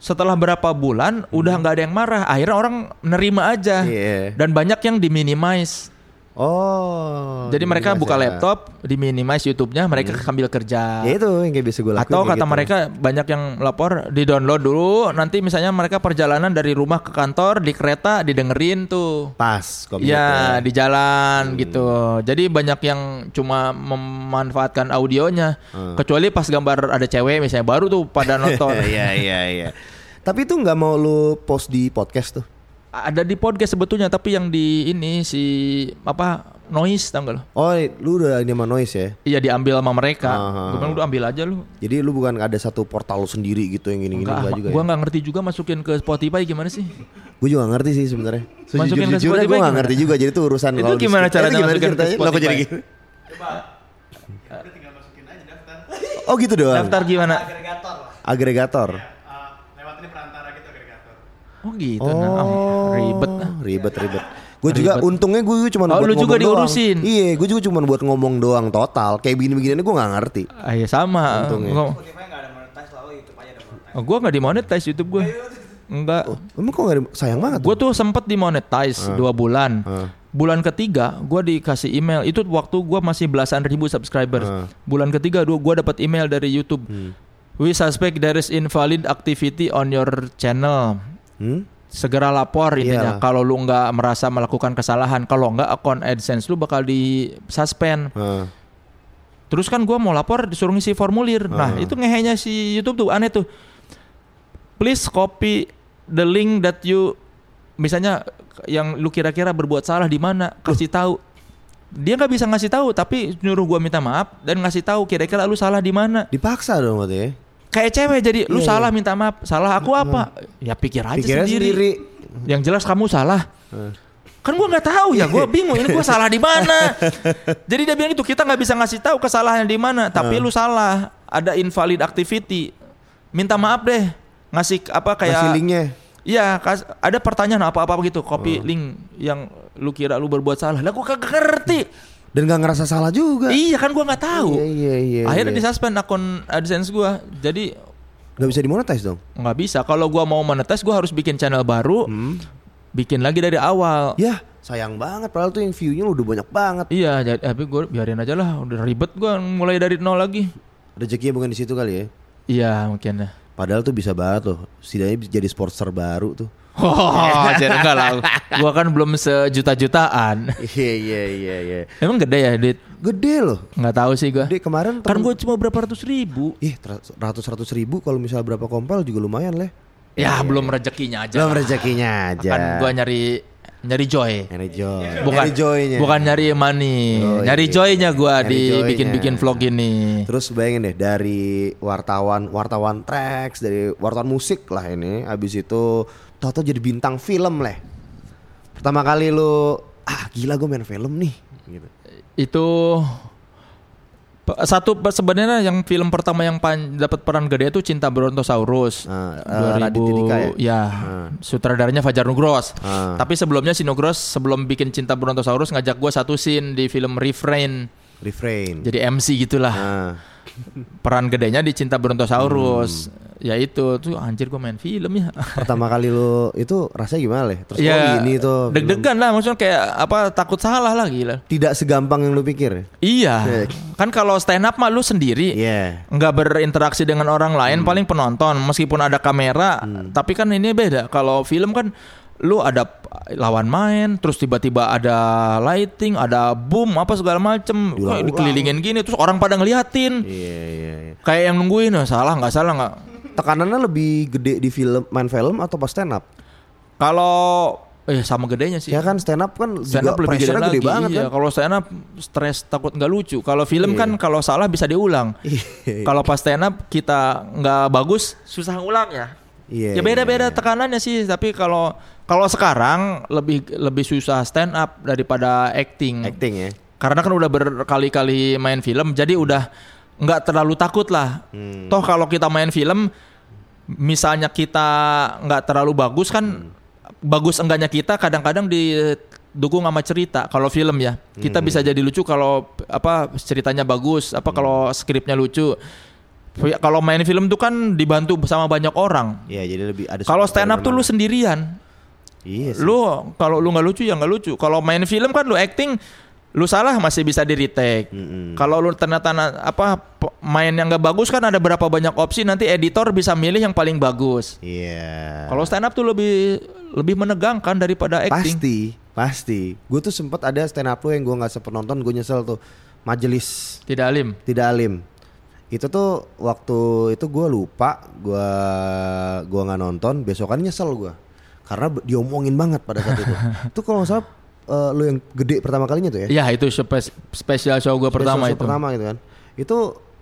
Setelah berapa bulan udah nggak ada yang marah. Akhirnya orang nerima aja.
Hmm. Iya.
Dan banyak yang diminimize.
Oh.
Jadi mereka
gimana
buka
sih?
laptop, diminimize YouTube-nya, mereka sambil kerja.
Hmm. Ya itu yang kayak biasa gue lakuin.
Atau
kayak
kata
gitu.
mereka banyak yang lapor di download dulu, nanti misalnya mereka perjalanan dari rumah ke kantor di kereta didengerin tuh.
pas komitmen.
Ya di
Hmm.
jalan gitu. Jadi banyak yang cuma memanfaatkan audionya.
Hmm.
Kecuali pas gambar ada cewek misalnya baru tuh pada nonton.
Iya iya iya. Tapi itu nggak mau lu post di podcast tuh.
Ada di podcast sebetulnya tapi yang di ini si apa noise tau nggak lo?
Oh, lu udah ini sama noise ya.
Iya diambil sama mereka.
Aha.
Gue bilang udah ambil aja lu.
Jadi lu bukan ada satu portal lu sendiri gitu yang gini-gini
Enggak,
enggak
ah,
juga
gua
ya.
nggak ngerti juga masukin ke Spotify gimana sih?
Gue juga nggak ngerti sih sebenarnya.
Masukin ke
Sejujur-jujurnya gue
Spotify
nggak
gimana?
ngerti juga. Jadi itu urusan
Itu
kalau di-
gimana
Eh, itu
caranya
gimana
masukin ke
ceritanya? Lah, kok jadi
Spotify?
gini? Oh gitu doang.
Daftar gimana?
agregator.
Oh gitu. Nah, oh, ribet. ah.
Ribet ribet. Gue juga untungnya gue cuma
Oh,
buat
lu
ngomong
juga
doang.
diurusin.
Iya, gue juga cuma buat ngomong doang total. Kayak begini-beginiannya gue nggak ngerti.
Ah, ya sama.
Untungnya.
Gua- Oh, gua nggak dimonetize YouTube gue. Enggak.
Emang kok nggak ada- sayang banget.
Gue tuh sempet dimonetize dua bulan. Bulan ketiga gue dikasih email. Itu waktu gua masih belasan ribu subscribers. Bulan ketiga dua gue dapat email dari YouTube. We suspect there is invalid activity on your channel.
Hmm?
Segera lapor
Iyalah.
intinya. Kalau lu nggak merasa melakukan kesalahan, kalau nggak akun AdSense lu bakal di suspend.
Heeh.
Terus kan gua mau lapor disuruh ngisi formulir. Nah itu ngehenya si YouTube tuh aneh tuh. Please copy the link that you misalnya yang lu kira-kira berbuat salah di mana kasih tahu. Dia nggak bisa ngasih tahu tapi nyuruh gua minta maaf dan ngasih tahu kira-kira lu salah di mana.
Dipaksa dong waktu ya.
Kayak cewek jadi lu salah minta maaf salah aku apa? Ya pikir aja
Pikirnya
sendiri.
sendiri.
Yang jelas kamu salah. Kan gua nggak tahu ya, gua bingung ini gua salah di mana. Jadi dia bilang itu kita nggak bisa ngasih tahu kesalahannya di mana, tapi
Ah.
lu salah, ada invalid activity. Minta maaf deh, ngasih apa kayak
Masih linknya. Ah.
Iya, kas- ada pertanyaan apa-apa gitu, copy link yang lu kira lu berbuat salah. Lah gua kagak ngerti.
Dan nggak ngerasa salah juga.
Iya kan gua nggak tahu.
Iya iya iya.
Akhirnya
iya.
disuspend akun AdSense gua. Jadi
Nggak bisa dimonetize dong.
nggak bisa. Kalau gua mau menetes, gua harus bikin channel baru,
Hmm.
bikin lagi dari awal.
Ya sayang banget. Padahal tuh yang view-nya udah banyak banget.
Iya, jadi tapi gue biarin aja lah. Udah ribet gue mulai dari nol lagi.
Rezekinya bukan di situ kali ya.
Iya mungkin ya.
Padahal tuh bisa banget loh. Setidaknya bisa jadi sponsor baru tuh.
Oh, jadi enggak lah. Gue kan belum sejuta-jutaan.
Iya iya iya iya.
Emang gede ya duit?
Gede loh.
Nggak tahu sih gue.
Gede kemarin
Kan
temen-
gue cuma berapa ratus ribu.
Ih, ratus-ratus ribu kalau misalnya berapa kompel juga lumayan leh.
Ya belum rezekinya aja. ya.
Belum rezekinya aja.
Kan gue nyari nyari joy.
Nyari joy.
Bukan
Nyari joynya.
Bukan nyari money.
Joy.
Oh, iya. Nyari joynya gua
Nyari
di
joynya.
bikin-bikin vlog ini.
Terus bayangin deh dari wartawan wartawan tracks dari wartawan musik lah ini. Abis itu Toto jadi bintang film leh. Pertama kali lu ah gila gue main film nih. Gitu.
Itu pe- satu pe- sebenarnya yang film pertama yang pan- dapat peran gede itu Cinta Brontosaurus.
Ah, eh,
2000
Raditya Dika ya?
sutradaranya Fajar Nugros.
Ah.
Tapi sebelumnya si Nugros sebelum bikin Cinta Brontosaurus ngajak gua satu scene di film Refrain.
Refrain.
Jadi MC gitulah.
Nah,
peran gedenya di Cinta Brontosaurus
Hmm.
yaitu tuh anjir gue main film ya
pertama kali lu itu rasanya gimana leh? Terus
ya
oh ini tuh film.
deg-degan lah maksudnya kayak apa takut salah lah gila
tidak segampang yang lu pikir.
iya
Cek.
kan kalau stand up mah lu sendiri
Iya.
nggak berinteraksi dengan orang
Hmm.
lain paling penonton meskipun ada kamera tapi kan ini beda kalau film kan lu ada p- lawan main terus tiba-tiba ada lighting ada boom apa segala macem
Diulang-ulang.
Kayak dikelilingin gini terus orang pada ngeliatin
Iya, iya, iya.
kayak yang nungguin "Oh, salah nggak salah nggak
Tekanannya lebih gede di film main film atau pas stand up?
Kalau eh sama gedenya sih.
Ya kan stand up kan juga
Stand up lebih gede,
pressure-nya
lagi.
gede banget
iya,
kan. Iya.
kalau stand up stres takut nggak lucu. Kalau film kan kalau salah bisa diulang. Kalau pas stand up kita nggak bagus susah ngulang ya.
Iya,
ya beda-beda tekanannya sih, tapi kalau kalau sekarang lebih lebih susah stand up daripada acting.
Acting ya.
Karena kan udah berkali-kali main film, jadi udah nggak terlalu takut lah.
Hmm.
Toh kalau kita main film, misalnya kita nggak terlalu bagus kan,
Hmm.
bagus enggaknya kita kadang-kadang didukung sama cerita. Kalau film ya,
Hmm.
kita bisa jadi lucu kalau apa ceritanya bagus, apa kalau skripnya lucu. Kalau main film tuh kan dibantu sama banyak orang.
Iya, jadi lebih ada
Kalau stand up tuh lu
sumber dari
sendirian,
mana. Iya sih.
lu kalau lu nggak lucu ya nggak lucu kalau main film kan lu acting lu salah masih bisa di retake
Mm-mm.
kalau lu ternyata na- apa p- main yang nggak bagus kan ada berapa banyak opsi nanti editor bisa milih yang paling bagus
Iya.
kalau stand up tuh lebih lebih menegangkan daripada acting
pasti, pasti. Gue tuh sempet ada stand up lu yang gue nggak sempet nonton, gue nyesel tuh. Majelis
tidak alim
tidak alim. Itu tuh waktu itu gue lupa, gue gua nggak nonton. Besokan nyesel gue karena be- diomongin banget pada saat itu. itu kalau nggak salah eh, lu yang gede pertama kalinya tuh ya?
ya itu spe- spesial show gue pertama
Besok-besok
itu
pertama gitu kan. Itu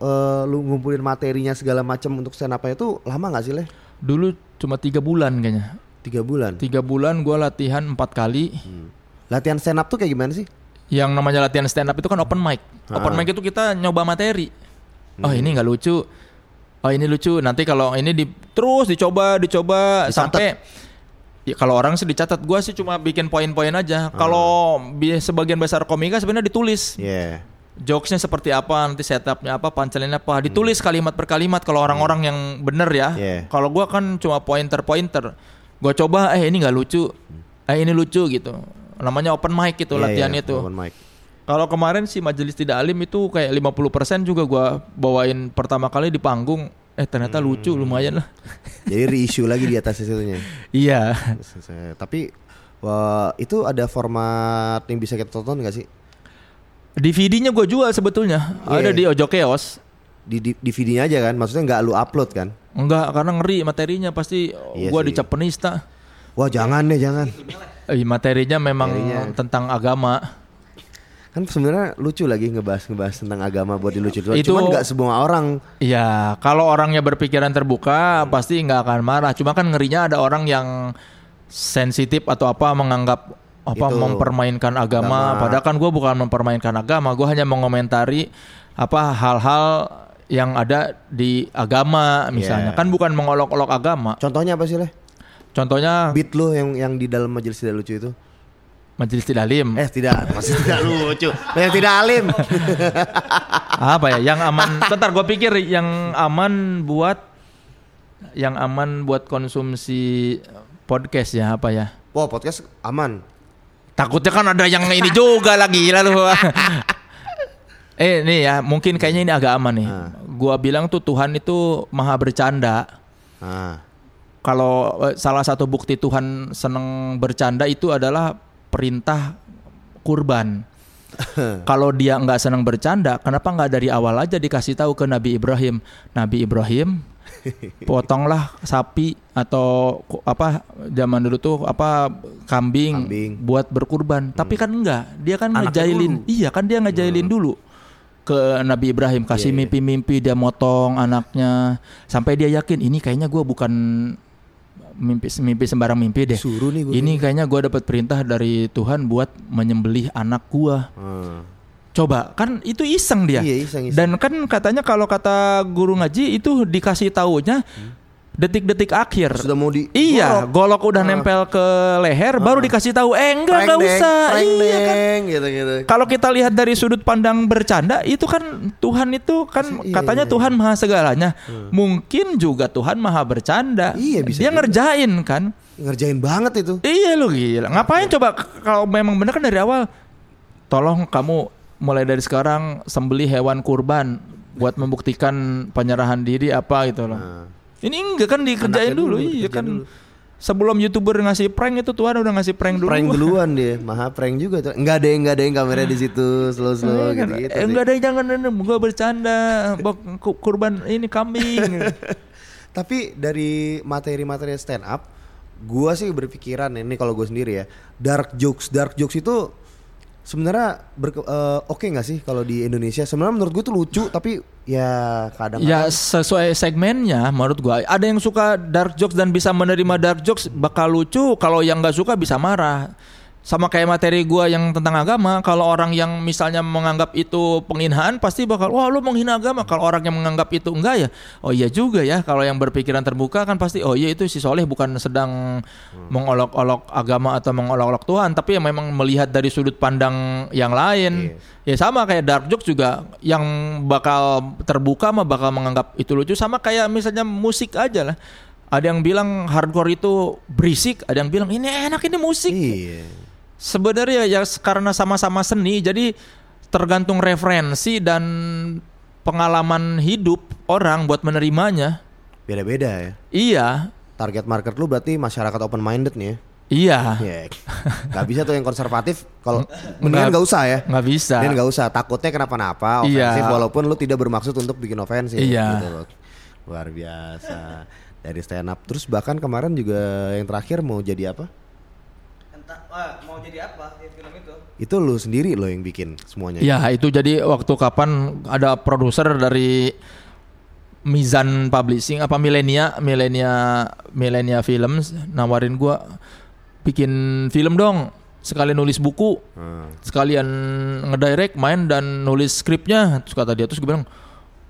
eh, lu ngumpulin materinya segala macam untuk stand up itu lama nggak sih leh?
dulu cuma tiga bulan kayaknya
Tiga bulan.
tiga bulan gue latihan empat kali
Hmm. Latihan stand up tuh kayak gimana sih?
yang namanya latihan stand up itu kan open mic. Open mic itu kita nyoba materi. Oh ini nggak lucu. Oh ini lucu. Nanti kalau ini di, terus dicoba, dicoba sampai Ya, kalau orang sih dicatat, gua sih cuma bikin poin-poin aja. Kalau bi- sebagian besar komika sebenarnya ditulis
Iya.
jokesnya seperti apa, nanti setupnya apa, pancelinnya apa, ditulis kalimat per kalimat. Kalau orang-orang yang bener ya.
Yeah.
Kalau gua kan cuma pointer-pointer. Gua coba, eh ini nggak lucu, eh ini lucu gitu. Namanya open mic gitu
Iya,
latihan
iya,
itu.
open mic.
Kalau kemarin si majelis tidak alim itu kayak 50% juga gua bawain pertama kali di panggung. Eh
Hmm.
ternyata lucu lumayan lah.
Jadi reissue lagi di atas itunya.
iya.
Tapi wah, itu ada format yang bisa kita tonton gak sih?
DVD-nya gua jual sebetulnya. Ada
Iya.
di Ojo Keos.
Di, di DVD-nya aja kan? Maksudnya nggak lu upload kan?
Enggak, karena ngeri materinya pasti
Iya
gua
sih.
dicap penista.
Wah jangan deh jangan.
Eh, materinya memang
Materinya.
tentang agama.
Kan sebenarnya lucu lagi ngebahas ngebahas tentang agama buat dilucu
Itu-
Cuman nggak semua orang.
Iya, kalau orangnya berpikiran terbuka pasti nggak akan marah. Cuma kan ngerinya ada orang yang sensitif atau apa menganggap apa
Itu.
mempermainkan agama.
Agama.
Padahal kan gue bukan mempermainkan agama, gue hanya mengomentari apa hal-hal yang ada di agama misalnya.
Iya.
Kan bukan mengolok-olok agama.
Contohnya apa sih leh?
Contohnya
Beat lu yang yang di dalam majelis tidak lucu itu?
majelis tidalim.
Eh tidak, masih tidak lucu. Yang tidak alim.
apa ya yang aman bentar gue pikir yang aman buat yang aman buat konsumsi podcast ya apa ya
Wah podcast aman.
Takutnya kan ada yang ini juga lagi lalu. eh nih ya, mungkin kayaknya ini agak aman nih. Gua bilang tuh Tuhan itu maha bercanda.
Ah,
Kalau eh, salah satu bukti Tuhan seneng bercanda itu adalah perintah kurban. Kalau dia nggak senang bercanda, kenapa nggak dari awal aja dikasih tahu ke Nabi Ibrahim? Nabi Ibrahim, potonglah sapi atau ku- apa zaman dulu tuh apa kambing,
Kambing.
buat berkurban. Tapi kan enggak, dia kan
Anaknya
ngejailin.
dulu.
Iya, kan dia ngejailin dulu ke Nabi Ibrahim kasih mimpi-mimpi dia motong anaknya sampai dia yakin ini kayaknya gua bukan mimpi mimpi sembarang mimpi deh.
Suruh nih gua
Ini kayaknya gua dapat perintah dari Tuhan buat menyembelih anak gua.
Hmm.
Coba kan itu iseng dia.
Iya, iseng-iseng.
Dan kan katanya kalau kata guru ngaji itu dikasih taunya detik-detik akhir.
Sudah mau di Gorok. Ah.
Iya, golok udah nempel ke leher baru dikasih tahu eh enggak enggak
Prank deng,
usah.
prank
Iya kan.
deng, gitu-gitu.
Kalau kita lihat dari sudut pandang bercanda itu kan Tuhan itu kan
Iya,
katanya
iya, Hmm.
Tuhan maha segalanya. Mungkin juga Tuhan maha bercanda.
Iya, bisa
Dia
juga.
ngerjain kan.
Ngerjain banget itu.
Iya lu gila. Ngapain coba k- kalau memang bener kan dari awal tolong kamu mulai dari sekarang sembelih hewan kurban buat membuktikan penyerahan diri apa gitu loh.
Nah.
Ini enggak kan
Anaknya
dikerjain dulu,
dulu,
iya
dikerjain
kan.
dulu.
Sebelum YouTuber ngasih prank itu Tuhan udah ngasih prank dulu.
Prank duluan dia, maha prank juga tuh. Enggak ada yang enggak ada yang kamera di situ, slow-slow gitu.
Eh, enggak ada yang jangan gue bercanda Bok, ku- kurban ini kambing
Tapi dari materi-materi stand up, gua sih berpikiran ini kalau gue sendiri ya, dark jokes, dark jokes itu sebenarnya berke- eh, oke nggak sih kalau di Indonesia? Sebenarnya menurut gue itu lucu, tapi ya kadang
ya sesuai segmennya menurut gua ada yang suka dark jokes dan bisa menerima dark jokes bakal lucu kalau yang nggak suka bisa marah sama kayak materi gua yang tentang agama kalau orang yang misalnya menganggap itu penghinaan pasti bakal wah lu menghina agama kalau orang yang menganggap itu enggak ya oh iya juga ya kalau yang berpikiran terbuka kan pasti oh iya itu si soleh bukan sedang mengolok-olok agama atau mengolok-olok Tuhan tapi yang memang melihat dari sudut pandang yang lain Ya sama kayak dark jokes juga yang bakal terbuka mah bakal menganggap itu lucu sama kayak misalnya musik aja lah. Ada yang bilang hardcore itu berisik, ada yang bilang ini enak ini musik.
Iya.
Sebenarnya ya s- karena sama-sama seni jadi tergantung referensi dan pengalaman hidup orang buat menerimanya.
Beda-beda ya.
Iya.
Target market lu berarti masyarakat open minded nih ya.
Iya.
Ya. Gak bisa tuh yang konservatif kalau mendingan gak usah ya.
nggak bisa.
Dan nggak usah takutnya kenapa-napa
Iya.
ofensif walaupun lu tidak bermaksud untuk bikin ofensif
Iya.
gitu loh. Luar biasa. Dari stand up terus bahkan kemarin juga yang terakhir mau jadi apa?
entah wah, mau jadi apa di film itu
Itu lu sendiri lo yang bikin semuanya.
Ya itu jadi waktu kapan ada produser dari Mizan Publishing apa Milenia Milenia Milenia Films nawarin gua bikin film dong sekalian nulis buku sekalian ngedirect main dan nulis skripnya terus kata dia terus gue bilang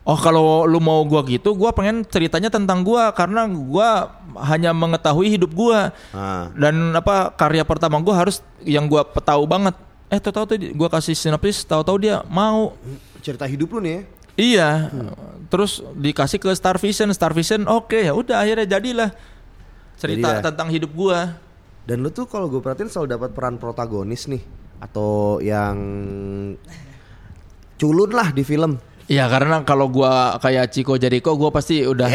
oh kalau lu mau gua gitu gua pengen ceritanya tentang gua karena gua hanya mengetahui hidup gua
Ah.
dan apa karya pertama gue harus yang gue tahu banget eh tahu-tahu tuh gue kasih sinopsis tahu-tahu dia mau
Cerita hidup lu nih ya.
iya terus dikasih ke Star Vision Star Vision oke ya udah akhirnya jadilah cerita
Jadilah.
tentang hidup gue
Dan lu tuh kalau gue perhatiin selalu dapat peran protagonis nih atau yang culun lah di film.
Iya karena kalau gua kayak Chico Jericho gua pasti udah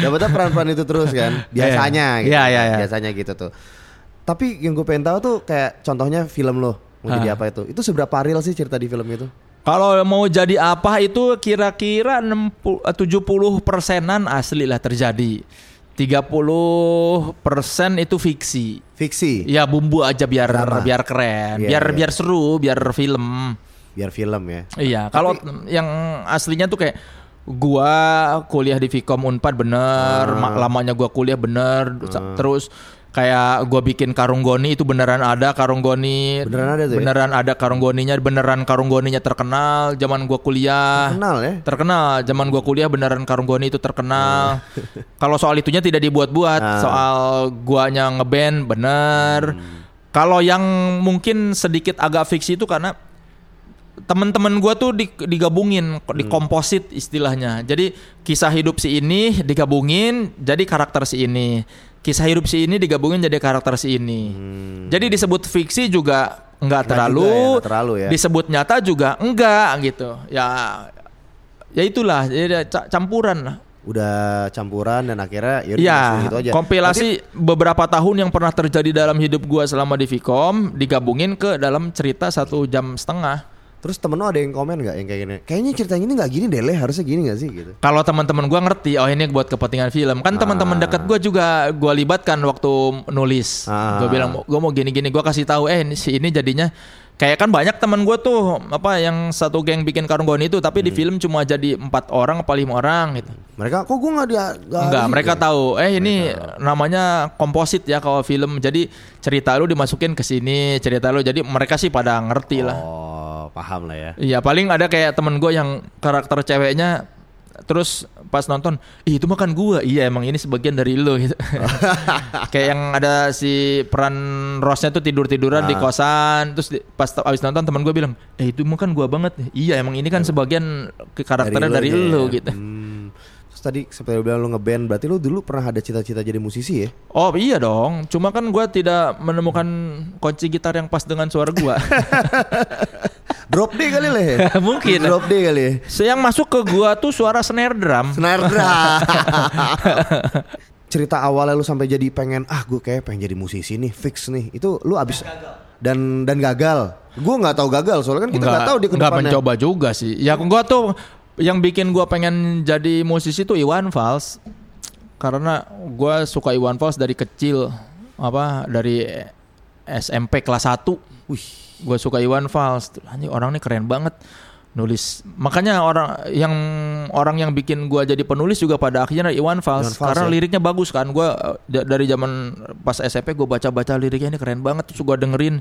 Dapatnya peran-peran itu terus kan Biasanya
Iya.
gitu
Iya, iya, iya.
Biasanya gitu tuh Tapi yang gue pengen tahu tuh Kayak contohnya film lo Mau jadi apa itu Itu seberapa real sih cerita di film itu
kalau mau jadi apa itu kira-kira 60 eh, 70 persenan asli lah terjadi 30 persen itu fiksi
Fiksi
Ya bumbu aja biar
Drama.
biar keren,
Iya,
biar
iya.
biar seru, biar film.
Biar film ya
Iya, kalau yang aslinya tuh kayak gua kuliah di Vkom Unpad bener,
Ah.
ma- lamanya gua kuliah bener, sa- terus kayak gua bikin karung goni itu beneran ada karung goni.
Beneran ada tuh ya?
Beneran ada karung goninya, beneran karung goninya terkenal zaman gua kuliah.
Kenal ya
Terkenal zaman gua kuliah beneran Karung Goni itu terkenal. Kalau soal itunya tidak dibuat-buat, soal guanya ngeband bener. Kalau yang mungkin sedikit agak fiksi itu karena temen-temen gua tuh di- digabungin,
Hmm.
dikomposit istilahnya. Jadi kisah hidup si ini digabungin jadi karakter si ini. Kisah hidup si ini digabungin jadi karakter si ini. Jadi disebut fiksi juga nggak
juga ya,
terlalu,
Hmm. nggak terlalu ya.
disebut nyata juga enggak gitu. Ya ya itulah jadi ada ca- campuran lah.
Udah campuran dan akhirnya yaudah langsung
Iya,
gitu aja.
kompilasi beberapa tahun yang pernah terjadi dalam hidup gua selama di Vicom digabungin ke dalam cerita satu jam setengah.
Tapi, Terus temen lo ada yang komen nggak yang kayak gini? Kayaknya cerita yang ini nggak gini deh, Le. harusnya gini nggak sih gitu?
Kalau teman-teman gua ngerti, oh ini buat kepentingan film. Kan teman-teman dekat gua juga gua libatkan waktu nulis.
Ah.
Gua bilang gua mau gini-gini, gua kasih tahu eh ini, si ini jadinya kayak kan banyak teman gua tuh apa yang satu geng bikin karung goni itu, tapi di film cuma jadi empat orang apa lima orang gitu.
Mereka kok gue nggak dia nggak
Enggak,
ada sih?"
mereka tahu. Eh ini namanya komposit ya kalau film. Jadi cerita lu dimasukin ke sini, cerita lu. Jadi mereka sih pada ngerti lah.
Oh paham lah ya.
Iya paling ada kayak temen gue yang karakter ceweknya terus pas nonton Ih, itu makan gua iya emang ini sebagian dari lo gitu kayak yang ada si peran Rosnya tuh tidur tiduran
Ah.
di kosan terus di- pas t- abis nonton teman gue bilang eh itu makan gua banget iya emang ini kan sebagian ke- karakternya dari,
lu
lo
aja ya.
gitu
Hmm. Terus tadi seperti lu bilang lu ngeband, berarti lu dulu pernah ada cita-cita jadi musisi ya?
oh iya dong cuma kan gua tidak menemukan kunci gitar yang pas dengan suara gua
Drop D kali Le.
Mungkin.
Drop D kali. ya.
So, yang masuk ke gua tuh suara snare drum
Senar Cerita awalnya lu sampai jadi pengen ah gue kayak pengen jadi musisi nih fix nih itu lu abis dan dan gagal. Gue nggak tahu gagal soalnya kan kita nggak tahu di
nggak
kedepannya.
mencoba juga sih. Ya gua tuh yang bikin gua pengen jadi musisi tuh Iwan Fals. Karena gua suka Iwan Fals dari kecil apa dari SMP kelas 1. Wih, gua suka Iwan Fals. Ini orang nih keren banget nulis. Makanya orang yang orang yang bikin gua jadi penulis juga pada akhirnya Iwan Fals,
Iwan Fals
karena
ya.
liriknya bagus kan. Gua eh, da- dari zaman pas SMP gua baca-baca liriknya ini keren banget. Terus gua dengerin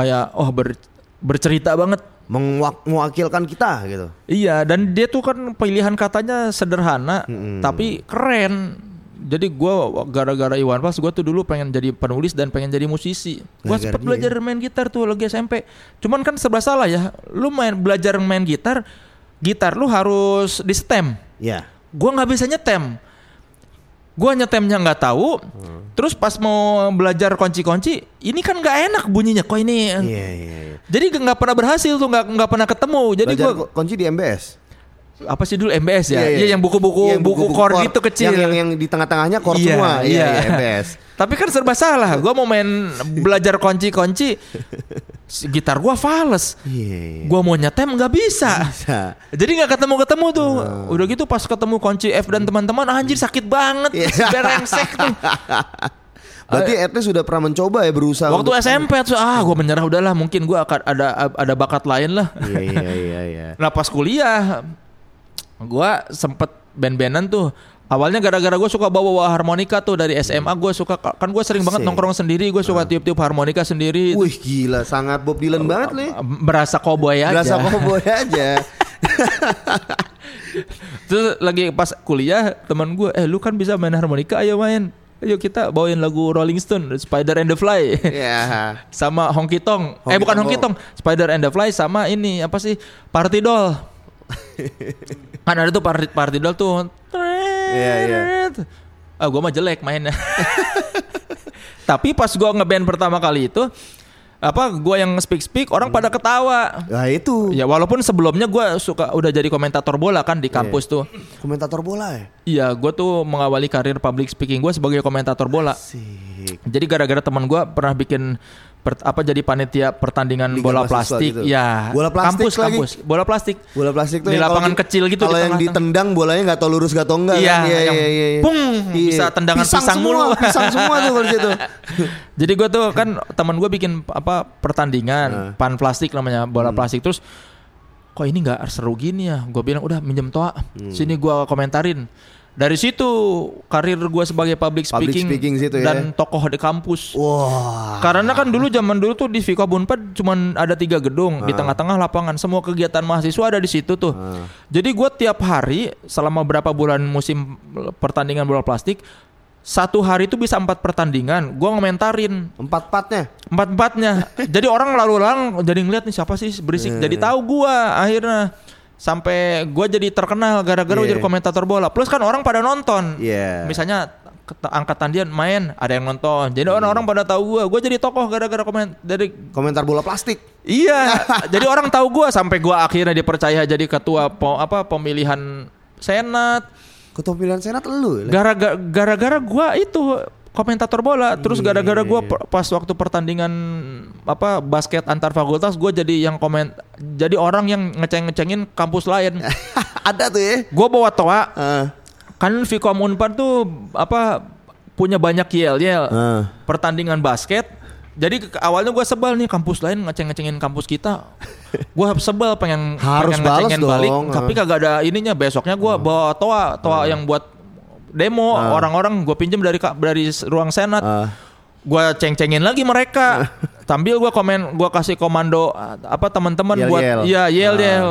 kayak oh ber- bercerita banget.
Mengwak- mewakilkan kita gitu.
Iya, dan dia tuh kan pilihan katanya sederhana tapi keren. Jadi gua gara-gara Iwan Fals gua tuh dulu pengen jadi penulis dan pengen jadi musisi. Gua
Gara-gara dia.
sempet
ya?
belajar main gitar tuh lagi SMP. Cuman kan sebelah salah ya. Lu main belajar main gitar, gitar lu harus di stem
Ya.
gua nggak bisa nyetem gua nyetemnya nggak tahu
Hmm.
terus pas mau belajar kunci-kunci ini kan nggak enak bunyinya kok ini
Iya iya. iya.
jadi nggak pernah berhasil tuh nggak nggak pernah ketemu jadi
Belajar
gua
ko- kunci di MBS.
apa sih dulu MBS ya
Iya, iya.
Iya, yang
Iya,
buku-buku buku chord gitu kecil
Yang, yang, yang di tengah-tengahnya chord semua. Iya, iya, MBS.
Tapi kan serba salah. Gua mau main belajar kunci-kunci. si Gitar gua fales.
Iya, iya.
Gua mau nyetem nggak bisa.
Bisa.
Jadi nggak ketemu-ketemu tuh.
Ah.
Udah gitu pas ketemu kunci F dan teman-teman "Ah, anjir sakit banget.
Iya.
Berengsek tuh.
Berarti at least sudah pernah mencoba ya berusaha.
Eh. Waktu
untuk-
SMP tuh ah gua menyerah udahlah mungkin gua akan ada ada bakat lain lah.
Iya, iya, iya, iya.
Nah pas kuliah gua sempet band-bandan tuh Awalnya gara-gara gue suka bawa-bawa harmonika tuh dari SMA gue suka kan gue sering banget
Asik.
nongkrong sendiri gue suka tiup-tiup harmonika sendiri
Ah. Wih gila, sangat Bob Dylan banget nih.
berasa koboi Iya aja.
Berasa cowboy aja.
Terus lagi pas kuliah teman gue eh lu kan bisa main harmonika ayo main. Ayo kita bawain lagu Rolling Stone Spider and the Fly.
Ya.
sama Honky Tonk. eh
Honky
bukan
Tonk.
Honky Tonk, Spider and the Fly sama ini apa sih? Party Doll. kan ada tuh Party, party Doll tuh.
Iya, iya.
Ah gua mah jelek mainnya. Tapi pas gua ngeband pertama kali itu apa gua yang speak speak orang pada ketawa.
Nah itu
Ya walaupun sebelumnya gua suka udah jadi komentator bola kan di kampus
Iya.
tuh.
komentator bola ya.
Iya, gua tuh mengawali karir public speaking gua sebagai komentator bola.
Sik.
Jadi gara-gara teman gua pernah bikin per- apa jadi panitia pertandingan
Liga
bola
mahasiswa
plastik,
gitu.
ya.
Bola plastik
kampus,
lagi?
kampus, bola plastik.
Bola plastik tuh
di
yang kalau
lapangan
di-
kecil gitu
Kalau yang
tengah-tengah.
ditendang bolanya nggak tahu lurus nggak tahu enggak
Iya,
kan?
yang pung, bisa tendangan pisang
semua,
mulu.
Iya. Pisang semua tuh kalau di situ.
Jadi gua tuh kan teman gua bikin apa
Nah.
pertandingan pan plastik namanya
Hmm.
bola plastik terus kok ini nggak seru gini ya gue bilang udah minjem toa
Hmm.
sini gua komentarin dari situ karir gua sebagai public
Public
speaking,
speaking situ ya.
dan tokoh di kampus
Wah.
Karena kan dulu zaman dulu tuh di Viko Bunpad cuman ada tiga gedung di tengah-tengah lapangan semua kegiatan mahasiswa ada di situ tuh. Jadi gua tiap hari selama berapa bulan musim pertandingan bola plastik satu hari itu bisa empat pertandingan. Gua ngomentarin
Empat empatnya.
empat empatnya. jadi orang lalu lalang jadi ngeliat nih siapa sih berisik. Jadi
Iya.
tahu gua akhirnya sampai gua jadi terkenal gara-gara gua
Iya.
jadi komentator bola. Plus kan orang pada nonton.
Iya.
Misalnya ket- angkatan dia main ada yang nonton.
Iya.
Jadi orang-orang pada tahu gua. Gua jadi tokoh gara-gara komen dari
Komentar bola plastik.
Iya, jadi orang tahu gua sampai gua akhirnya dipercaya jadi ketua po- apa pemilihan senat
Ketua pilihan senat lu. ya?
gara-gara gara-gara gua itu komentator bola. Terus gara-gara gua per- pas waktu pertandingan apa basket antar fakultas gua jadi yang komen jadi orang yang ngeceng-ngecengin kampus lain.
Ada tuh ya. Ah,
gua bawa toa,
Heeh.
kan Vicom Unpar tuh apa punya banyak yel-yel
Heeh.
pertandingan basket. Jadi ke- awalnya gua sebel nih kampus lain ngeceng-ngecengin kampus kita. Gua sebel pengen
Harus
pengen
balas
ngecengin
dong, Hmm.
balik,
heeh.
tapi kagak ada ininya. Besoknya gua bawa toa, toa yang buat demo
Hmm.
orang-orang gua pinjem dari ka- dari s- ruang senat.
Ah.
Gua ceng-cengin lagi
Hmm.
mereka. Sambil gua komen, gua kasih komando ah, apa teman-teman buat
Yel-yel.
iya
Hmm.
yel-yel.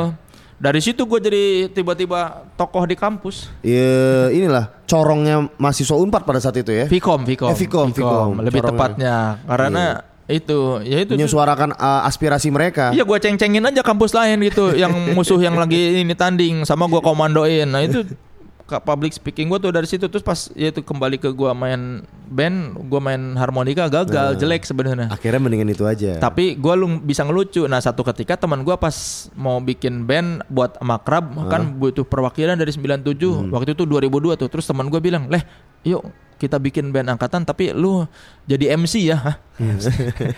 Dari situ gua jadi tiba-tiba tokoh di kampus.
Iya, inilah corongnya mahasiswa Unpad pada saat itu ya.
Vicom,
Eh,
Vicom,
Vicom, Vicom. Corongnya.
lebih tepatnya karena itu, ya itu.
Menyuarakan uh, aspirasi mereka.
Iya, gue ceng-cengin aja kampus lain gitu, yang musuh yang lagi ini tanding, sama gue komandoin. Nah itu ke public speaking gue tuh dari situ terus pas ya itu kembali ke gue main band, gue main harmonika gagal, jelek sebenarnya.
Akhirnya mendingan itu aja.
Tapi gue lu bisa ngelucu. Nah satu ketika teman gue pas mau bikin band buat makrab kan butuh perwakilan dari 97 waktu itu 2002 tuh. Terus teman gue bilang, leh, yuk kita bikin band angkatan tapi lu jadi MC ya. Hah?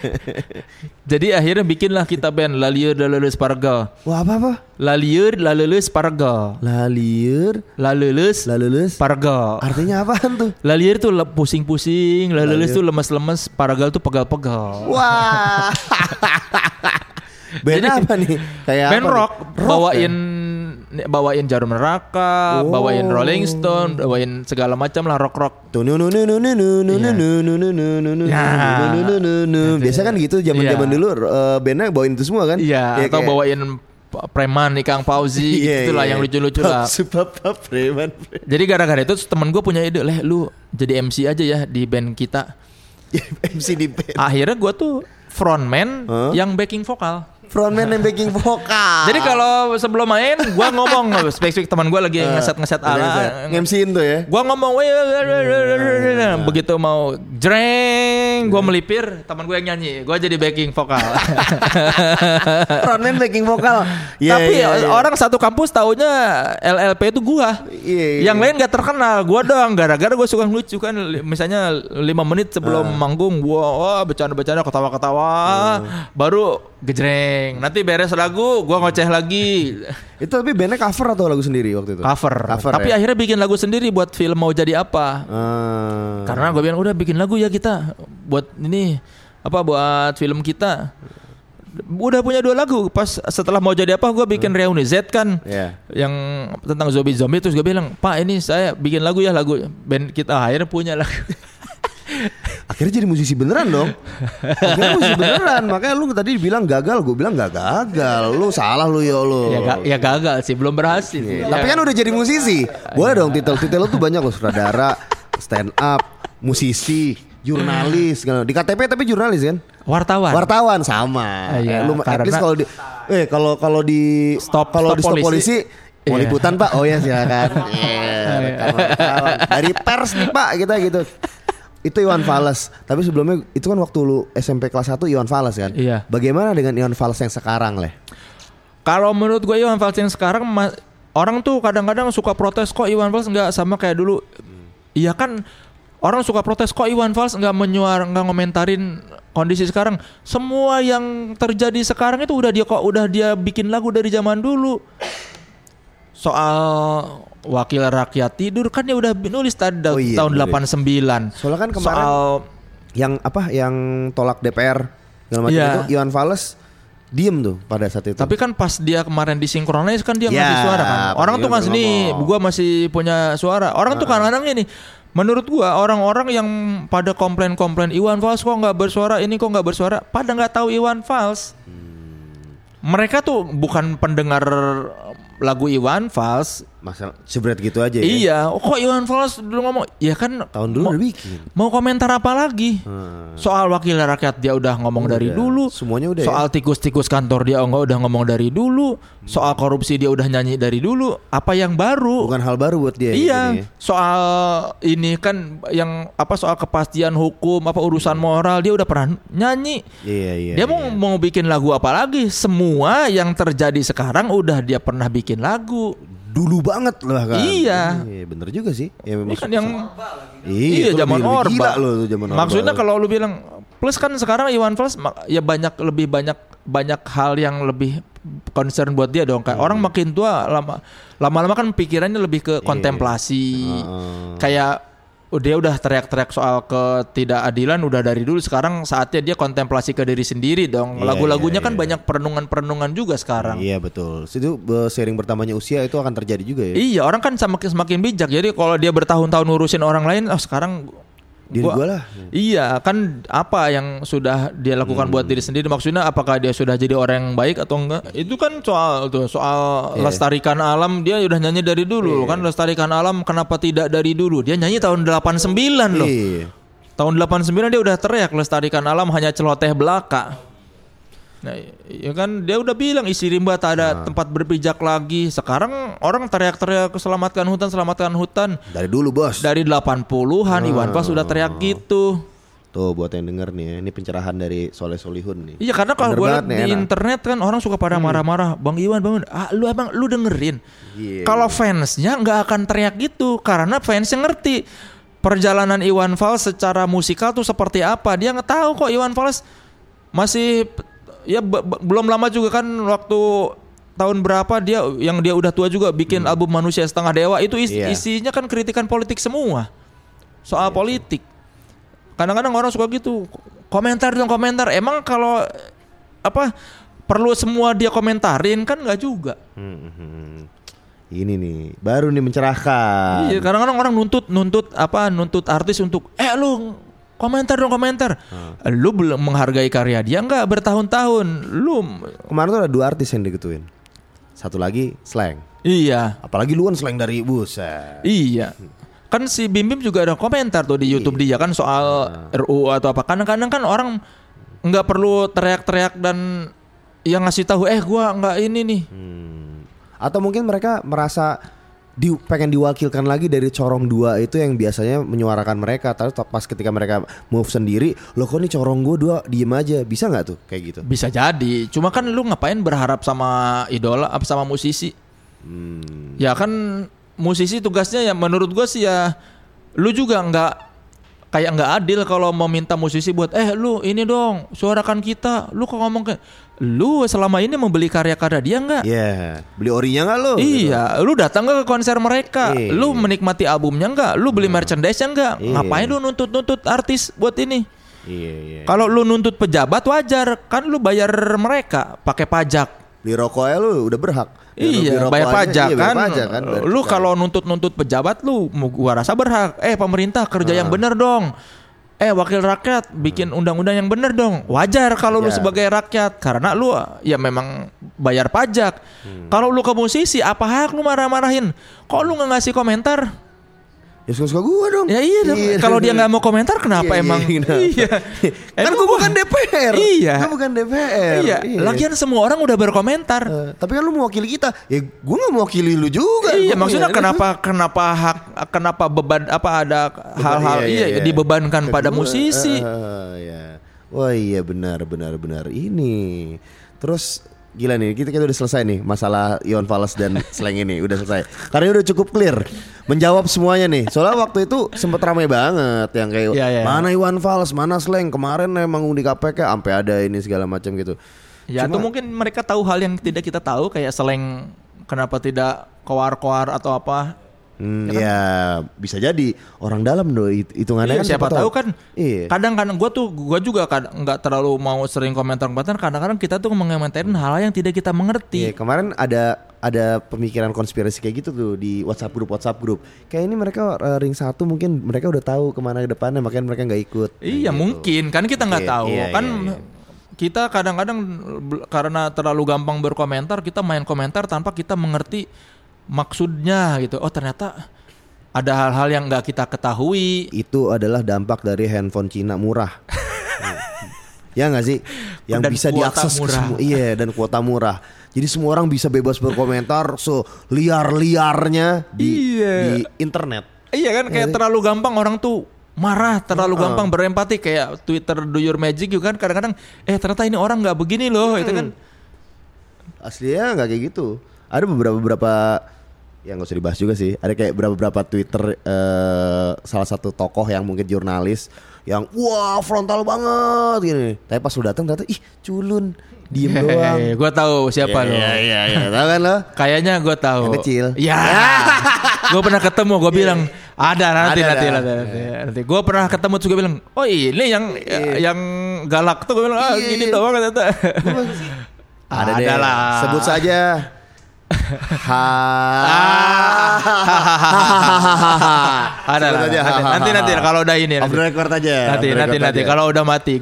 jadi akhirnya bikinlah kita band Lalieur Laleuleus Pargal.
Wah apa apa?
Lalieur Laleuleus Pargal.
Laliur,
Laleuleus
lalulus.
Pargal.
Artinya apaan tuh?
Lalieur tuh le- pusing-pusing, Laleuleus tuh lemes-lemes, Pargal tuh pegal-pegal.
Wah. Band
Jadi-
apa nih? Kayak
band
apa nih?
rock, bawain bawain jarum neraka, bawain Rolling Stone, bawain segala macam lah rock rock.
Tuh, nu, nu, nu, nu, nu, nu, nu,
Iya.
nu, nu, nu, nu, nu, nu,
Ya.
nu, nu, nu, nu, nu. Biasa kan gitu zaman-zaman
Iya.
dulu eh, bandnya bawain itu semua kan? Ya,
Iya, atau
kayak-
bawain p- preman Ikang Fauzi
Iya,
gitu lah
iya.
yang lucu-lucu lah.
Sebab apa, preman. preman.
Jadi gara-gara itu temen gue punya ide, leh lu jadi MC aja ya di band kita.
Ya, MC di band.
Akhirnya gue tuh frontman
Huh? Ah.
yang backing vokal.
Frontman and backing vokal.
Jadi kalau sebelum main gue ngomong spesifik teman gue lagi ngeset-ngeset
Iya,
ala
MC-in tuh ya.
Gua ngomong "Weh, weh, weh, weh, weh, weh, weh, weh."
Hmm.
begitu mau jreng, gua melipir, teman gue yang nyanyi, gua jadi backing vokal.
Frontman backing vokal. Iya,
Tapi
iya, iya.
orang satu kampus taunya LLP itu gua.
Iya, iya.
Yang lain gak terkenal, gua doang gara-gara gua suka lucu kan li- misalnya 5 menit sebelum
Ah.
manggung gua wah bercanda-bercanda ketawa-ketawa,
Hmm.
baru gejreng. Nanti beres lagu, gua ngoceh lagi.
itu tapi bandnya cover atau lagu sendiri waktu itu?
Cover.
Cover.
Tapi
ya?
akhirnya bikin lagu sendiri buat film mau jadi apa.
Ah.
Karena gue bilang udah bikin lagu ya kita buat ini apa buat film kita. Udah punya dua lagu. Pas setelah mau jadi apa gue bikin reuni Z kan.
Iya.
Yang tentang zombie zombie terus gue bilang, "Pak, ini saya bikin lagu ya lagu band kita akhirnya punya lagu."
Akhirnya jadi musisi beneran dong. Akhirnya musisi beneran. Makanya lu tadi bilang gagal, gue bilang gak gagal. Lu salah lu yo lu.
ya, ga- ya gagal sih, belum berhasil. Ya.
Tapi kan udah jadi musisi.
Iya.
Boleh dong titel-titel lu tuh banyak loh sutradara, stand up, musisi, jurnalis segala. Di KTP tapi jurnalis kan?
wartawan.
Wartawan sama.
Ah, iya,
Eh, lu ma- at
karena-
least kalau di eh kalau kalau di
Stop-
kalau
stop
di stop polisi,
polisi.
mau
Iya.
liputan Pak. Oh ya silakan. Iya, rekam wartawan. Dari pers nih Pak kita gitu. Itu Iwan Fals. Tapi sebelumnya itu kan waktu lu SMP kelas 1 Iwan Fals kan?
Iya.
Bagaimana dengan Iwan Fals yang sekarang, Leh?
Kalau menurut gue Iwan Fals yang sekarang ma- orang tuh kadang-kadang suka protes kok Iwan Fals nggak sama kayak dulu.
Hmm.
Iya kan orang suka protes kok Iwan Fals nggak menyuar nggak ngomentarin kondisi sekarang. Semua yang terjadi sekarang itu udah dia kok udah dia bikin lagu dari zaman dulu. Soal wakil rakyat tidur kan dia udah nulis tadi
Oh iya,
tahun
bener.
89.
Soalnya kan kemarin-
soal
yang apa yang tolak DPR segala macam
Iya.
itu Iwan Fales diem tuh pada saat itu.
Tapi kan pas dia kemarin disinkronis kan dia
Ya,
ngasih suara kan. Orang
pasti
tuh
dia
ngasih nih,
ngomong.
gua masih punya suara. Orang tuh kadang-kadang ini menurut gua orang-orang yang pada komplain-komplain Iwan Fals kok nggak bersuara, ini kok nggak bersuara, pada nggak tahu Iwan Fals. Mereka tuh bukan pendengar lagu Iwan Fals.
masa jebret gitu aja ya.
Iya, oh, kok Iwan Fals dulu ngomong, ya kan
Tahun dulu
mau,
udah bikin. Nah,
mau komentar apa lagi?
Hmm.
Soal wakil rakyat dia udah ngomong dari
Udah,
dulu.
semuanya udah ya?
Soal tikus-tikus kantor dia enggak udah ngomong dari dulu. Soal korupsi dia udah nyanyi dari dulu. Apa yang baru?
Bukan hal baru buat dia. ya,
Iya,
jadinya.
soal ini kan yang apa soal kepastian hukum, apa urusan moral dia udah pernah nyanyi.
Iya iya.
dia mau mau bikin lagu apa lagi? Semua yang terjadi sekarang udah dia pernah bikin lagu.
dulu banget loh kan.
Iya.
Iya, bener juga sih. Ya,
Ini
maksud-
kan yang
Iya, itu
zaman
lebih- lebih
Orba.
Gila loh itu zaman Orba.
Maksudnya kalau lu bilang plus kan sekarang Iwan Fals ma- ya banyak lebih banyak banyak hal yang lebih concern buat dia dong kayak
Hmm.
orang makin tua lama lama-lama kan pikirannya
Iya.
lebih ke kontemplasi. Kayak oh, dia udah teriak-teriak soal ketidakadilan udah dari dulu sekarang saatnya dia kontemplasi ke diri sendiri dong.
Iya,
Lagu-lagunya
iya,
kan banyak perenungan-perenungan juga sekarang.
Iya betul. Itu eh, seiring bertambahnya usia itu akan terjadi juga ya.
Iya, orang kan semakin semakin bijak. Jadi kalau dia bertahun-tahun ngurusin orang lain, oh sekarang gua-
Diri gua lah.
Iya, kan apa yang sudah dia lakukan buat diri sendiri maksudnya apakah dia sudah jadi orang yang baik atau enggak? Itu kan soal tuh soal lestarikan alam dia udah nyanyi dari dulu kan lestarikan alam kenapa tidak dari dulu? Dia nyanyi tahun 89 loh.
Iya.
Tahun 89 dia udah teriak lestarikan alam hanya celoteh belaka. Nah, ya kan dia udah bilang isi rimba tak ada tempat berpijak lagi. Sekarang orang teriak-teriak selamatkan hutan, selamatkan hutan.
Dari dulu bos.
Dari 80-an Iwan Fals udah teriak gitu.
Tuh buat yang denger nih, ya, ini pencerahan dari Soleh Solihun nih.
Iya karena kalau
Bener
gue liat
banget nih,
di
enak. Hmm.
internet kan orang suka pada marah-marah, Bang Iwan, Bang, Iwan, ah, lu emang lu dengerin.
Iya.
Kalau fansnya nggak akan teriak gitu karena fansnya ngerti perjalanan Iwan Fals secara musikal tuh seperti apa. Dia nggak tahu kok Iwan Fals masih ya be- be- belum lama juga kan waktu tahun berapa dia yang dia udah tua juga bikin album Manusia Setengah Dewa itu is-
Hmm. Iya.
isinya kan kritikan politik semua. Soal politik. Kadang-kadang orang suka gitu. Komentar dong komentar. Emang kalau apa perlu semua dia komentarin kan nggak juga.
Hmm, Ini nih, baru nih mencerahkan.
Iya, kadang-kadang orang nuntut nuntut apa nuntut artis untuk eh lu komentar dong komentar. Lu belum menghargai karya dia nggak bertahun-tahun. Lu
Kemarin tuh ada dua artis yang digituin. Satu lagi slang.
iya.
Apalagi lu kan slang dari buset.
Iya. Kan si Bim Bim juga ada komentar tuh di YouTube dia kan soal RUU atau apa. Kadang-kadang kan orang nggak perlu teriak-teriak dan yang ngasih tahu eh gua nggak ini nih.
Atau mungkin mereka merasa di, pengen diwakilkan lagi dari corong dua itu yang biasanya menyuarakan mereka. Tapi pas ketika mereka move sendiri, lo kok nih corong gue dua diem aja, bisa nggak tuh kayak gitu?
Bisa jadi. Cuma kan lu ngapain berharap sama idola apa sama musisi?
Hmm.
Ya kan musisi tugasnya ya menurut gua sih ya lu juga nggak kayak nggak adil kalau meminta musisi buat eh lu ini dong suarakan kita. Lu kok ngomong ke lu selama ini membeli karya-karya dia nggak?
Ya, beli orinya nggak lo?
Iya, lu datang nggak ke konser mereka?
Iya. Hmm.
Lu menikmati albumnya nggak? Lu beli merchandise-nya nggak?
Iya.
Ngapain lu nuntut-nuntut artis buat ini?
Iya, iya.
Kalau lu nuntut pejabat wajar, kan lu bayar mereka pakai pajak.
Beli rokoknya lu udah berhak. Ya, lu beli
iya,
rokok
bayar
aja,
pajak
iya,
kan.
bayar pajak kan, bayar
Lu
cukai.
kalau nuntut-nuntut pejabat lu mu- gua rasa berhak. Eh, pemerintah kerja
Ah.
yang bener dong. Eh, wakil rakyat bikin
Hmm.
undang-undang yang bener dong. Wajar kalau lu
Wajar.
sebagai rakyat karena lu ya memang bayar pajak.
Hmm.
Kalau lu ke musisi apa hak lu marah-marahin? Kok lu nggak ngasih komentar?
ya suka suka gua dong.
Ya iya dong. Kalau dia nggak mau komentar kenapa
Iya, iya,
emang?
iya. kan
Emang
gua
gua-
bukan DPR.
Iya.
Gua bukan DPR.
Iya. Lagian semua orang udah berkomentar.
Eh, tapi kan lu mewakili kita. Ya gua nggak mewakili lu juga.
Iya,
Gua
maksudnya
punya-
kenapa kenapa hak kenapa beban apa ada hal-hal
Iya,
iya,
iya, iya.
dibebankan
Ke
pada
gua,
musisi.
eh, eh, iya. Wah iya benar benar benar ini. Terus gila nih kita kita udah selesai nih masalah Ion Fals dan slang ini udah selesai. Karena udah cukup clear menjawab semuanya nih. Soalnya waktu itu sempet ramai banget yang kayak
Iya, iya.
mana Iwan Fals, mana slang. Kemarin emang di KPK sampai ada ini segala macam gitu.
ya atau mungkin mereka tahu hal yang tidak kita tahu kayak seleng kenapa tidak koar-koar atau apa.
Hmm, ya, bisa jadi orang dalam do hit- hitungannya
kan? Iya,
kan
siapa tahu kan.
Iya.
Kadang-kadang gue tuh gue juga kad- nggak terlalu mau sering komentar-komentar. Kadang-kadang kita tuh mengementarin hal yang tidak kita mengerti.
Iya kemarin ada ada pemikiran konspirasi kayak gitu tuh di WhatsApp grup WhatsApp grup. Kayak ini mereka eh, ring satu mungkin mereka udah tahu kemana ke depannya makanya mereka nggak ikut.
Iya mungkin kan kita nggak
Iya,
tahu
gitu. iya,
kan
iya, iya.
kita kadang-kadang bel- karena terlalu gampang berkomentar kita main komentar tanpa kita mengerti maksudnya gitu. Oh ternyata ada hal-hal yang nggak kita ketahui.
Itu adalah dampak dari handphone Cina murah. ya nggak sih? Yang
Dan
bisa
kuota
diakses ke
murah.
semua. Iya dan kuota murah. Jadi semua orang bisa bebas berkomentar so liar liarnya di,
Iya.
di internet.
Iya kan kayak terlalu gampang orang tuh marah terlalu gampang berempati kayak Twitter do your magic juga kan kadang-kadang eh ternyata ini orang nggak
Hmm.
begini loh itu kan
Aslinya nggak kayak gitu. Ada gitu. beberapa beberapa yang gak usah dibahas juga sih. Ada kayak berapa-berapa Twitter eh, salah satu tokoh yang mungkin jurnalis yang wah frontal banget gini. Tapi pas lu datang ternyata ih culun, diem doang.
Hehehe, Eh, gua tahu siapa lo.
iya iya. Tahu kan lo?
Kayaknya gua tahu.
Yang kecil.
Ya. gua pernah ketemu, gua bilang ada
Ada,
nanti nanti
ada. Iya.
nanti. nanti, nanti. Gua pernah ketemu terus gua bilang, "Oh, ini yang yang galak tuh." Gua bilang, "Ah,
Iya,
gini
iya.
doang ternyata."
Ada, deh.
lah.
Sebut saja. Ha.
Ah. Ada
Sebut
lah.
aja,
Nanti,
ha, ha,
nanti
ha.
nanti kalau udah ini
Off the record aja.
Nanti
off the
nanti
record
nanti
aja.
kalau udah mati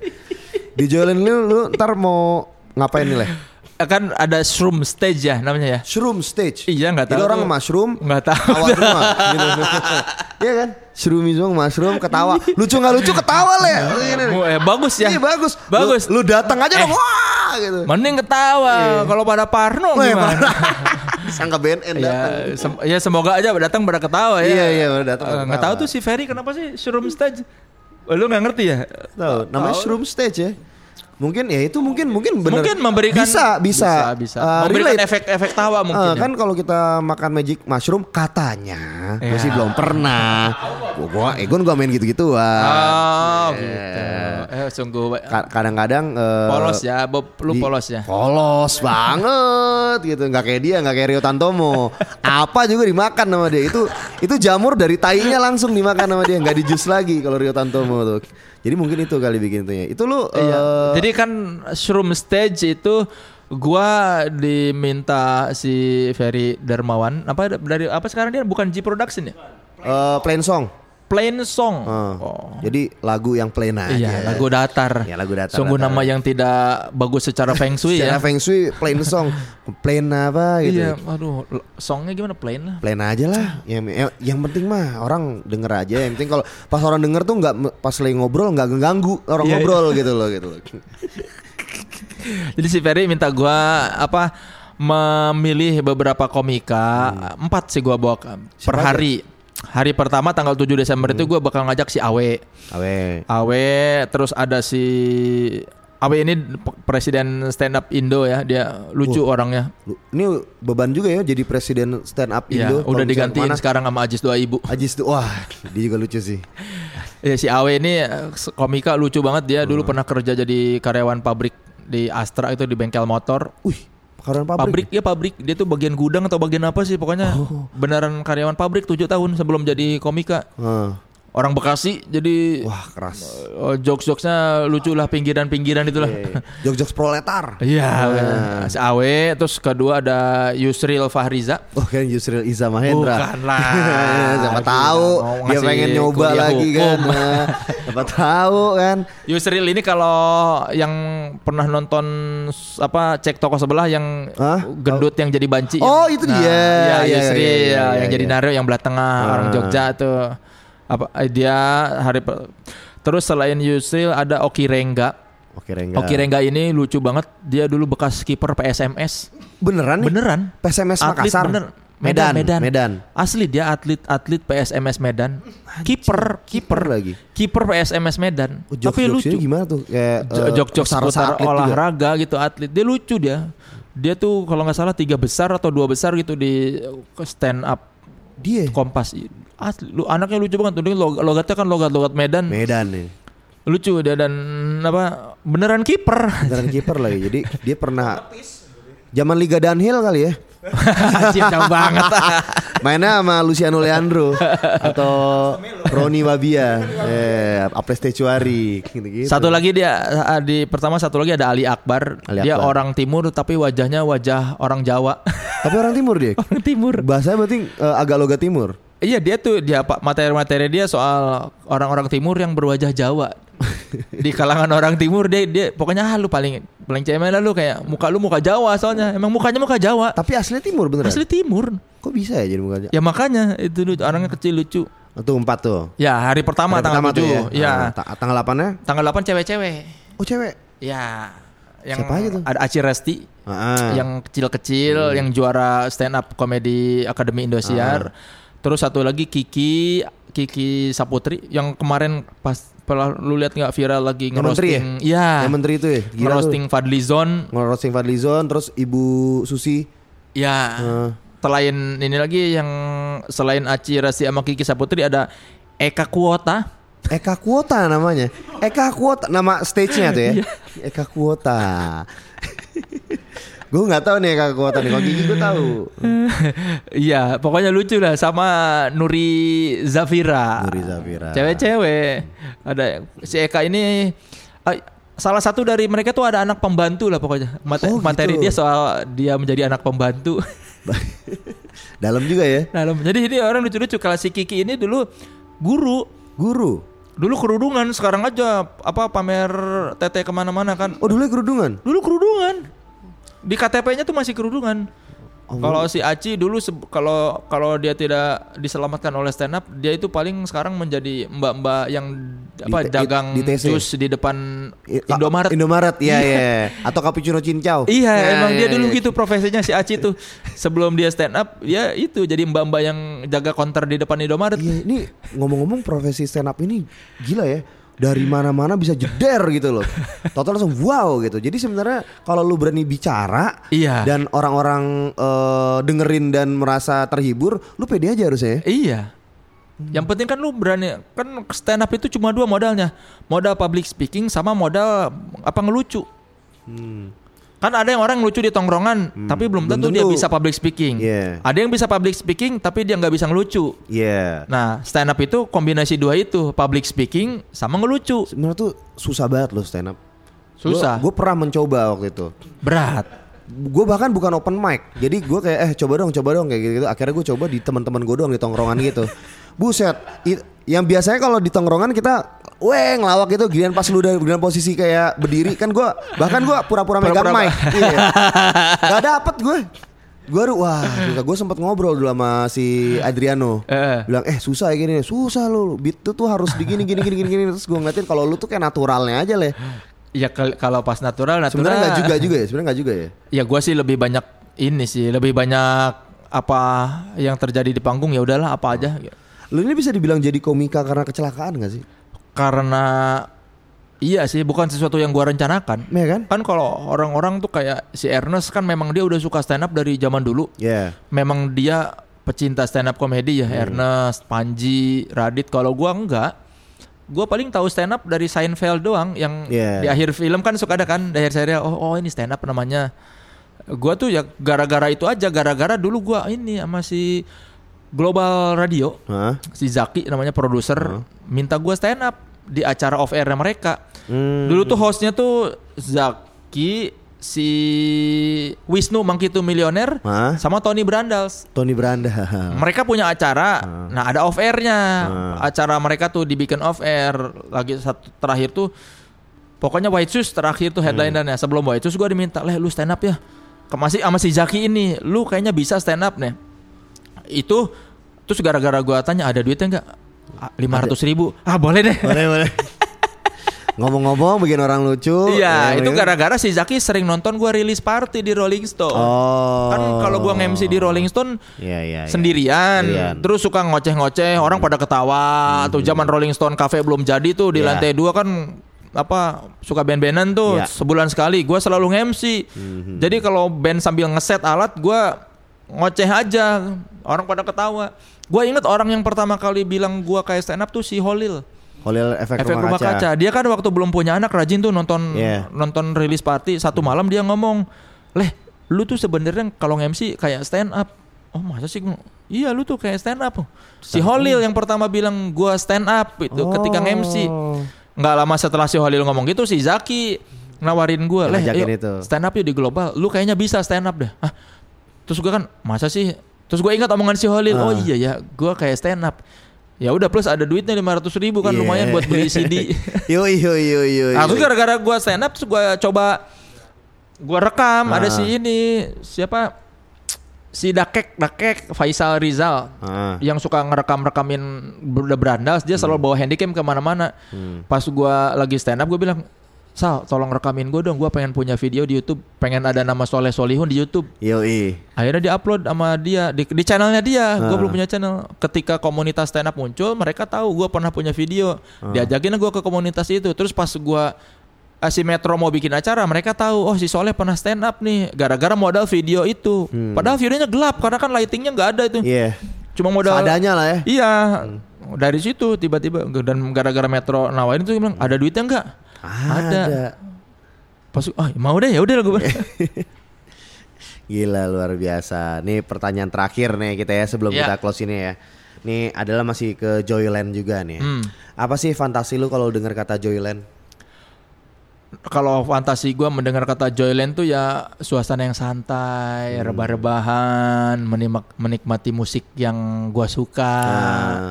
dijualin lu, lu ntar mau ngapain nih leh?
kan ada shroom stage ya namanya ya.
Shroom stage.
Iya,
Jadi
nggak tahu
orang
tuh.
mushroom.
Nggak tahu.
Awal rumah. gitu. Iya kan? Shroomism, mushroom, ketawa. Lucu nggak lucu ketawa leh. Lu gini.
Eh, bagus ya.
Iya bagus. Lu-
Bagus.
Lu, Iya. datang aja
Eh.
dong. Wah gitu.
Mending ketawa kalau pada Parno
Wah,
gimana?
parah. Disangka BNN
ya,
datang. gitu kan.
sem- ya semoga aja datang pada ketawa ya.
Iya, iya, pada datang
Eh,
pada
Nggak
ketawa.
tahu tuh si Ferry kenapa sih showroom stage? Eh, Lu nggak ngerti ya?
Tahu, namanya shroom stage ya. Mungkin ya itu mungkin mungkin bener.
Mungkin memberikan
bisa bisa,
bisa, bisa.
Eh,
memberikan
relate.
efek-efek tawa
Eh,
mungkin. ya.
kan kalau kita makan magic mushroom katanya
Ya.
masih belum pernah. Gua, gua Egon gua main gitu-gituan.
Oh, gitu.
iya.
Eh, sungguh
Ka- Kadang-kadang eh,
polos ya, Bob. Lu
di-
polos ya.
Polos banget gitu, nggak kayak dia, nggak kayak Rio Tantomo. Apa juga dimakan sama dia. Itu itu jamur dari tainya langsung dimakan sama dia, nggak di jus lagi kalau Rio Tantomo tuh. Jadi mungkin itu kali bikin itunya. Itu lu eh,
Jadi kan shroom stage itu gua diminta si Ferry Darmawan apa dari apa sekarang dia bukan G Production ya?
eh, plain song.
Plain song.
Eh,
Oh.
Jadi lagu yang plain aja.
Iya, lagu datar.
Iya, lagu datar,
Sungguh
datar.
nama yang tidak bagus secara feng shui
Secara
ya.
Feng Shui plain song, plain apa gitu.
Iya, aduh, l- songnya gimana plain lah.
Plain aja lah. Yang, yang, yang penting mah orang denger aja. Yang penting kalau pas orang denger tuh nggak pas lagi ngobrol nggak ganggu orang
Iya,
ngobrol gitu loh gitu loh.
Jadi si Ferry minta gua apa memilih beberapa komika empat sih gua bawa ke- per
Hmm. Siapa aja? Hmm.
hari. Hari pertama tanggal 7 Desember itu gua bakal ngajak si Awe.
Awe.
Awe terus ada si Awe ini p- presiden stand up Indo ya, dia lucu
Oh.
orangnya.
Lu, ini beban juga ya jadi presiden stand up
Iya,
Indo. ya.
udah
Kalau misalnya
digantiin
kemana,
sekarang sama Ajis Dua Ibu.
Ajis tuh wah dia juga lucu sih.
Ya, si Awe ini eh, komika lucu banget dia dulu pernah kerja jadi karyawan pabrik di Astra itu di bengkel motor.
Wih, karyawan pabrik.
Pabrik, ya pabrik dia tuh bagian gudang atau bagian apa sih pokoknya beneran karyawan pabrik 7 tahun sebelum jadi komika.
Heeh.
Orang Bekasi jadi
Wah keras.
eh, jokes-jokesnya lucu lah pinggiran-pinggiran itulah.
Iya. Jog-jog proletar.
Iya, si Awe terus kedua ada Yusril Fahriza.
Oh kan Yusril Iza Mahendra.
Bukan lah.
Siapa
Gila,
tahu
mau
dia
ngasih
pengen nyoba
kuliah
lagi kan.
hukum.
Nah, Siapa tahu kan.
Yusril ini kalau yang pernah nonton s- apa cek toko sebelah yang
Hah?
gendut yang jadi banci.
Oh, itu dia.
Ya,
Iya,
Yusril
iya, iya,
ya,
iya,
yang jadi
iya.
Nario yang belah tengah orang Jogja tuh. Apa eh, dia hari per- Terus selain Yusril ada Oki Rengga.
Oke Rengga.
Oki Rengga ini lucu banget. Dia dulu bekas kiper PSMS.
Beneran nih?
Beneran.
PSMS
Atlet
Makassar.
bener. Medan, Medan,
Medan.
Asli dia atlet atlet PSMS Medan. Kiper,
Kiper
kiper
lagi.
Kiper PSMS Medan.
Oh,
Tapi
jokes-jokesnya
lucu.
gimana tuh? Kayak eh,
jok-jok
rasa-rasa
seputar
atlet juga.
olahraga gitu atlet dia lucu dia dia tuh kalau nggak salah tiga besar atau dua besar gitu di ke stand up
Dia ya?
kompas asli lu anaknya lucu banget tuh dia log- logatnya kan logat logat Medan
Medan nih.
lucu dia dan mm, apa beneran kiper
Beneran kiper lagi. Jadi dia pernah zaman Liga Danhill kali ya.
Anjir, jauh banget
Mainnya sama Luciano Leandro atau Roni Wabia, eh, Aples Tecuari gitu-gitu.
satu lagi dia ah, di pertama satu lagi ada Ali Akbar
Ali
dia
Akbar.
orang timur tapi wajahnya wajah orang Jawa
Tapi orang timur dia.
orang timur
Bahasanya berarti eh, agak loga timur.
Iya dia tuh dia pak materi-materi dia soal orang-orang timur yang berwajah Jawa. di kalangan orang timur dia dia pokoknya ah, lu paling paling cemen lah lu kayak muka lu muka Jawa soalnya. Emang mukanya muka Jawa.
Tapi aslinya timur beneran.
Asli timur.
Kok bisa ya jadi mukanya?
Ya makanya itu lucu, orangnya kecil lucu.
Itu empat tuh.
Ya hari pertama
Hari
tanggal
pertama tuh
7.
ya.
Ya.
Ah, ta- tanggal 8-nya
tanggal 8 cewek-cewek.
oh cewek.
Ya. Yang
Siapa aja tuh?
Ada Aci Resti.
Ah, Hmm.
Yang kecil-kecil, yang juara stand up komedi Akademi
Ah.
Indosiar. Terus satu lagi Kiki, Kiki Saputri yang kemarin pas pernah lu lihat nggak viral lagi
Yang menteri ya?
ngerosting, ya,
Yang menteri itu ya? Gila
ngerosting Fadlizon,
Ngorosing Fadlizon terus Ibu Susi.
ya,
Eh,
selain ini lagi yang selain Aci Rasi sama Kiki Saputri ada Eka Kuota.
Eka Kuota namanya. Eka Kuota nama stage-nya tuh ya.
Iya.
Eka Kuota. gue nggak tahu nih Eka Kuota nih. Kalau Gigi gue tahu.
Iya, pokoknya lucu lah sama Nuri Zafira.
Nuri Zafira.
Cewek-cewek. Ada si Eka ini eh, salah satu dari mereka tuh ada anak pembantu lah pokoknya. Mate-
Oh, gitu.
materi dia soal dia menjadi anak pembantu.
Dalam juga ya.
Dalam. Jadi jadi orang lucu-lucu kalau si Kiki ini dulu guru
Guru.
Dulu kerudungan, sekarang aja apa pamer tete kemana-mana kan.
Oh dulu kerudungan.
Dulu kerudungan. Di KTP-nya tuh masih kerudungan.
Oh.
Kalau si Aci dulu se- kalau kalau dia tidak diselamatkan oleh stand up, dia itu paling sekarang menjadi mbak-mbak yang apa
T-
dagang
di TC.
jus di depan Indomaret.
Indomaret ya ya. Atau cappuccino cincau.
Iya,
Nah,
emang dia
iya,
dulu
iya.
gitu profesinya si Aci tuh. Sebelum dia stand up, ya itu jadi mbak-mbak yang jaga konter di depan Indomaret.
Iya, ini ngomong-ngomong profesi stand up ini gila ya. Dari mana-mana bisa jeder gitu loh. Total langsung wow gitu. Jadi sebenarnya kalau lu berani bicara
Iya.
dan orang-orang eh, dengerin dan merasa terhibur, lu pede aja harusnya. ya.
Iya.
Hmm.
Yang penting kan lu berani kan stand up itu cuma dua modalnya. Modal public speaking sama modal apa ngelucu. Kan ada yang orang lucu di tongkrongan tapi belum
Hmm. Belum
tentu dia
tentu.
bisa public speaking.
Iya.
Ada yang bisa public speaking tapi dia nggak bisa ngelucu.
Iya.
Nah, stand up itu kombinasi dua itu, public speaking sama ngelucu.
Sebenarnya tuh susah banget loh stand up.
Susah.
Gue pernah mencoba waktu itu.
Berat.
gue bahkan bukan open mic jadi gue kayak eh coba dong coba dong kayak gitu, akhirnya gue coba di teman-teman gue doang di tongkrongan gitu buset i- yang biasanya kalau di tongkrongan kita weh ngelawak gitu giliran pas lu udah giliran posisi kayak berdiri kan gue bahkan gue pura-pura megang
Pura-pura-
mic iya. gak dapet gue gue wah susah gue sempet ngobrol dulu sama si Adriano
Eh.
bilang eh susah ya gini susah lu beat tuh, tuh harus digini gini gini gini gini terus gue ngeliatin kalau lu tuh kayak naturalnya aja leh
Ya kal- kalau pas natural natural.
sebenarnya nggak juga juga ya sebenarnya nggak juga ya
Ya gua sih lebih banyak ini sih, lebih banyak apa yang terjadi di panggung ya udahlah apa aja.
Lu ini bisa dibilang jadi komika karena kecelakaan gak sih?
karena iya sih bukan sesuatu yang gua rencanakan
Iya kan?
kan kalau orang-orang tuh kayak si Ernest kan memang dia udah suka stand up dari zaman dulu
Ya.
memang dia pecinta stand up komedi ya Ernest Panji Radit kalau gua enggak gua paling tahu stand up dari Seinfeld doang yang
Iya.
di akhir film kan suka ada kan di akhir serial oh, oh ini stand up namanya gua tuh ya gara-gara itu aja gara-gara dulu gua ini sama si Global Radio
Hah?
si Zaki namanya produser minta gue stand up di acara off air mereka.
Hmm.
Dulu tuh hostnya tuh Zaki, si Wisnu Mangkitu Milioner,
Hah?
sama Tony Brandals.
Tony Branda.
Mereka punya acara, nah ada off airnya. Acara mereka tuh dibikin off air. Lagi satu terakhir tuh, pokoknya White Shoes terakhir tuh headlinernya.
Hmm.
Sebelum White Shoes gue diminta, leh lu stand up ya. Ke- Masih sama si Zaki ini, lu kayaknya bisa stand up nih. Itu terus gara-gara gue tanya ada duitnya nggak? Lima ratus ribu, ah boleh deh.
boleh, boleh. Ngomong-ngomong bikin orang lucu. Ya,
Iya, itu
mungkin-
gara-gara si Zaki sering nonton gue rilis party di Rolling Stone.
Oh.
Kan kalau gue nge-MC di Rolling Stone,
Iya, iya. iya.
sendirian,
Sendirian. Hmm.
terus suka ngoceh-ngoceh, orang pada ketawa. Tuh zaman Rolling Stone Cafe belum jadi tuh di
Iya.
lantai dua kan apa suka band-bandan tuh
Iya. Hmm.
sebulan sekali. Gua selalu nge-MC. Jadi kalau band sambil ngeset alat, gua ngoceh aja, orang pada ketawa. Gua inget orang yang pertama kali bilang gua kayak stand up tuh si Holil.
Holil efek,
Efek rumah kaca. Dia kan waktu belum punya anak rajin tuh nonton
Iya.
nonton rilis party satu malam dia ngomong, "Leh, lu tuh sebenarnya kalau MC kayak stand up." Oh, masa sih? Iya, lu tuh kayak stand up. Si Holil yang pertama bilang gua stand up itu
Oh.
ketika MC. Nggak lama setelah si Holil ngomong gitu si Zaki nawarin gua,
Yang
"Leh,
ngajakin
ayo
itu."
stand up yuk di global. Lu kayaknya bisa stand up deh." Hah? Terus gua kan, "Masa sih?" Terus gua ingat omongan si Holil,
Ah.
"Oh iya ya, gua kayak stand up." Ya udah plus ada duitnya 500 ribu kan
Iya.
lumayan buat beli CD.
Yo yo yo yo.
Nah, terus gara-gara gua stand up terus gua coba gua rekam
Ah.
ada si ini siapa si Dakek Dakek Faisal Rizal
Ah.
yang suka ngerekam-rekamin udah berandas dia
Hmm.
selalu bawa handycam kemana-mana pas gua lagi stand up gua bilang Sal tolong rekamin gua dong gua pengen punya video di YouTube pengen ada nama Soleh Solihun di YouTube
Yo i.
akhirnya di upload sama dia di, di channelnya dia
Ah.
gue belum punya channel ketika komunitas stand up muncul mereka tahu gue pernah punya video diajakin gue ke komunitas itu terus pas gue eh, si Metro mau bikin acara, mereka tahu oh si Soleh pernah stand up nih gara-gara modal video itu. Padahal videonya gelap karena kan lightingnya nggak ada itu.
Iya.
Cuma modal
Seadanya lah ya.
Iya. Dari situ tiba-tiba dan gara-gara Metro nawarin itu bilang ada duitnya nggak? Iya.
Iya.
Pas ah mau deh ya udah lah gue. bilang.
Gila luar biasa. Nih pertanyaan terakhir nih kita ya sebelum
Iya.
kita close ini ya. Nih adalah masih ke Joyland juga nih.
Hmm.
Apa sih fantasi lu kalau dengar kata Joyland?
Kalau fantasi gua mendengar kata Joyland tuh ya suasana yang santai, rebah-rebahan, menimak- menikmati musik yang gua suka.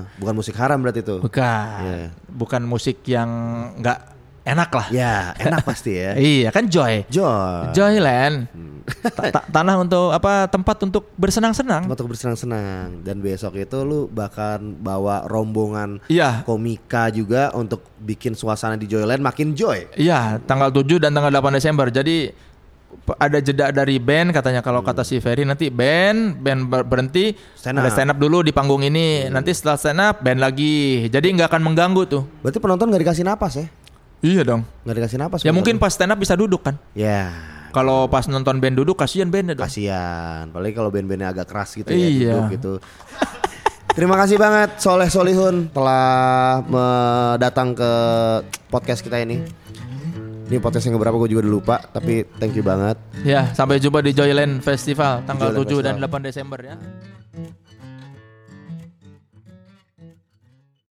Nah, bukan musik haram berarti itu.
Bukan,
Iya.
bukan musik yang nggak enak lah.
Ya, enak pasti ya.
Iya kan joy,
Joy.
Joyland, Ta- ta- tanah untuk apa tempat untuk bersenang-senang.
Tempat untuk bersenang-senang dan besok itu lu bahkan bawa rombongan
Iya,
komika juga untuk bikin suasana di Joyland makin joy.
Iya, tanggal 7 dan tanggal 8 Desember. Jadi pe- ada jeda dari band katanya kalau kata si Ferry nanti band band ber- berhenti
Stand up.
ada
Iya.
stand up dulu di panggung ini nanti setelah stand up band lagi jadi nggak akan mengganggu tuh
Berarti penonton nggak dikasih napas ya?
iya dong
Nggak dikasih napas.
ya
penonton.
mungkin pas stand up bisa duduk kan
Ya,
kalau pas nonton band duduk kasihan bandnya dong
kasihan. Apalagi kalau band-bandnya agak keras gitu ya,
Iya.
duduk gitu. Terima kasih banget Soleh Solihun telah me- datang ke podcast kita ini. Ini podcast yang keberapa gue juga udah lupa, tapi thank you banget.
ya sampai jumpa di Joyland Festival tanggal
Joyland
7 dan
Festival.
8 Desember ya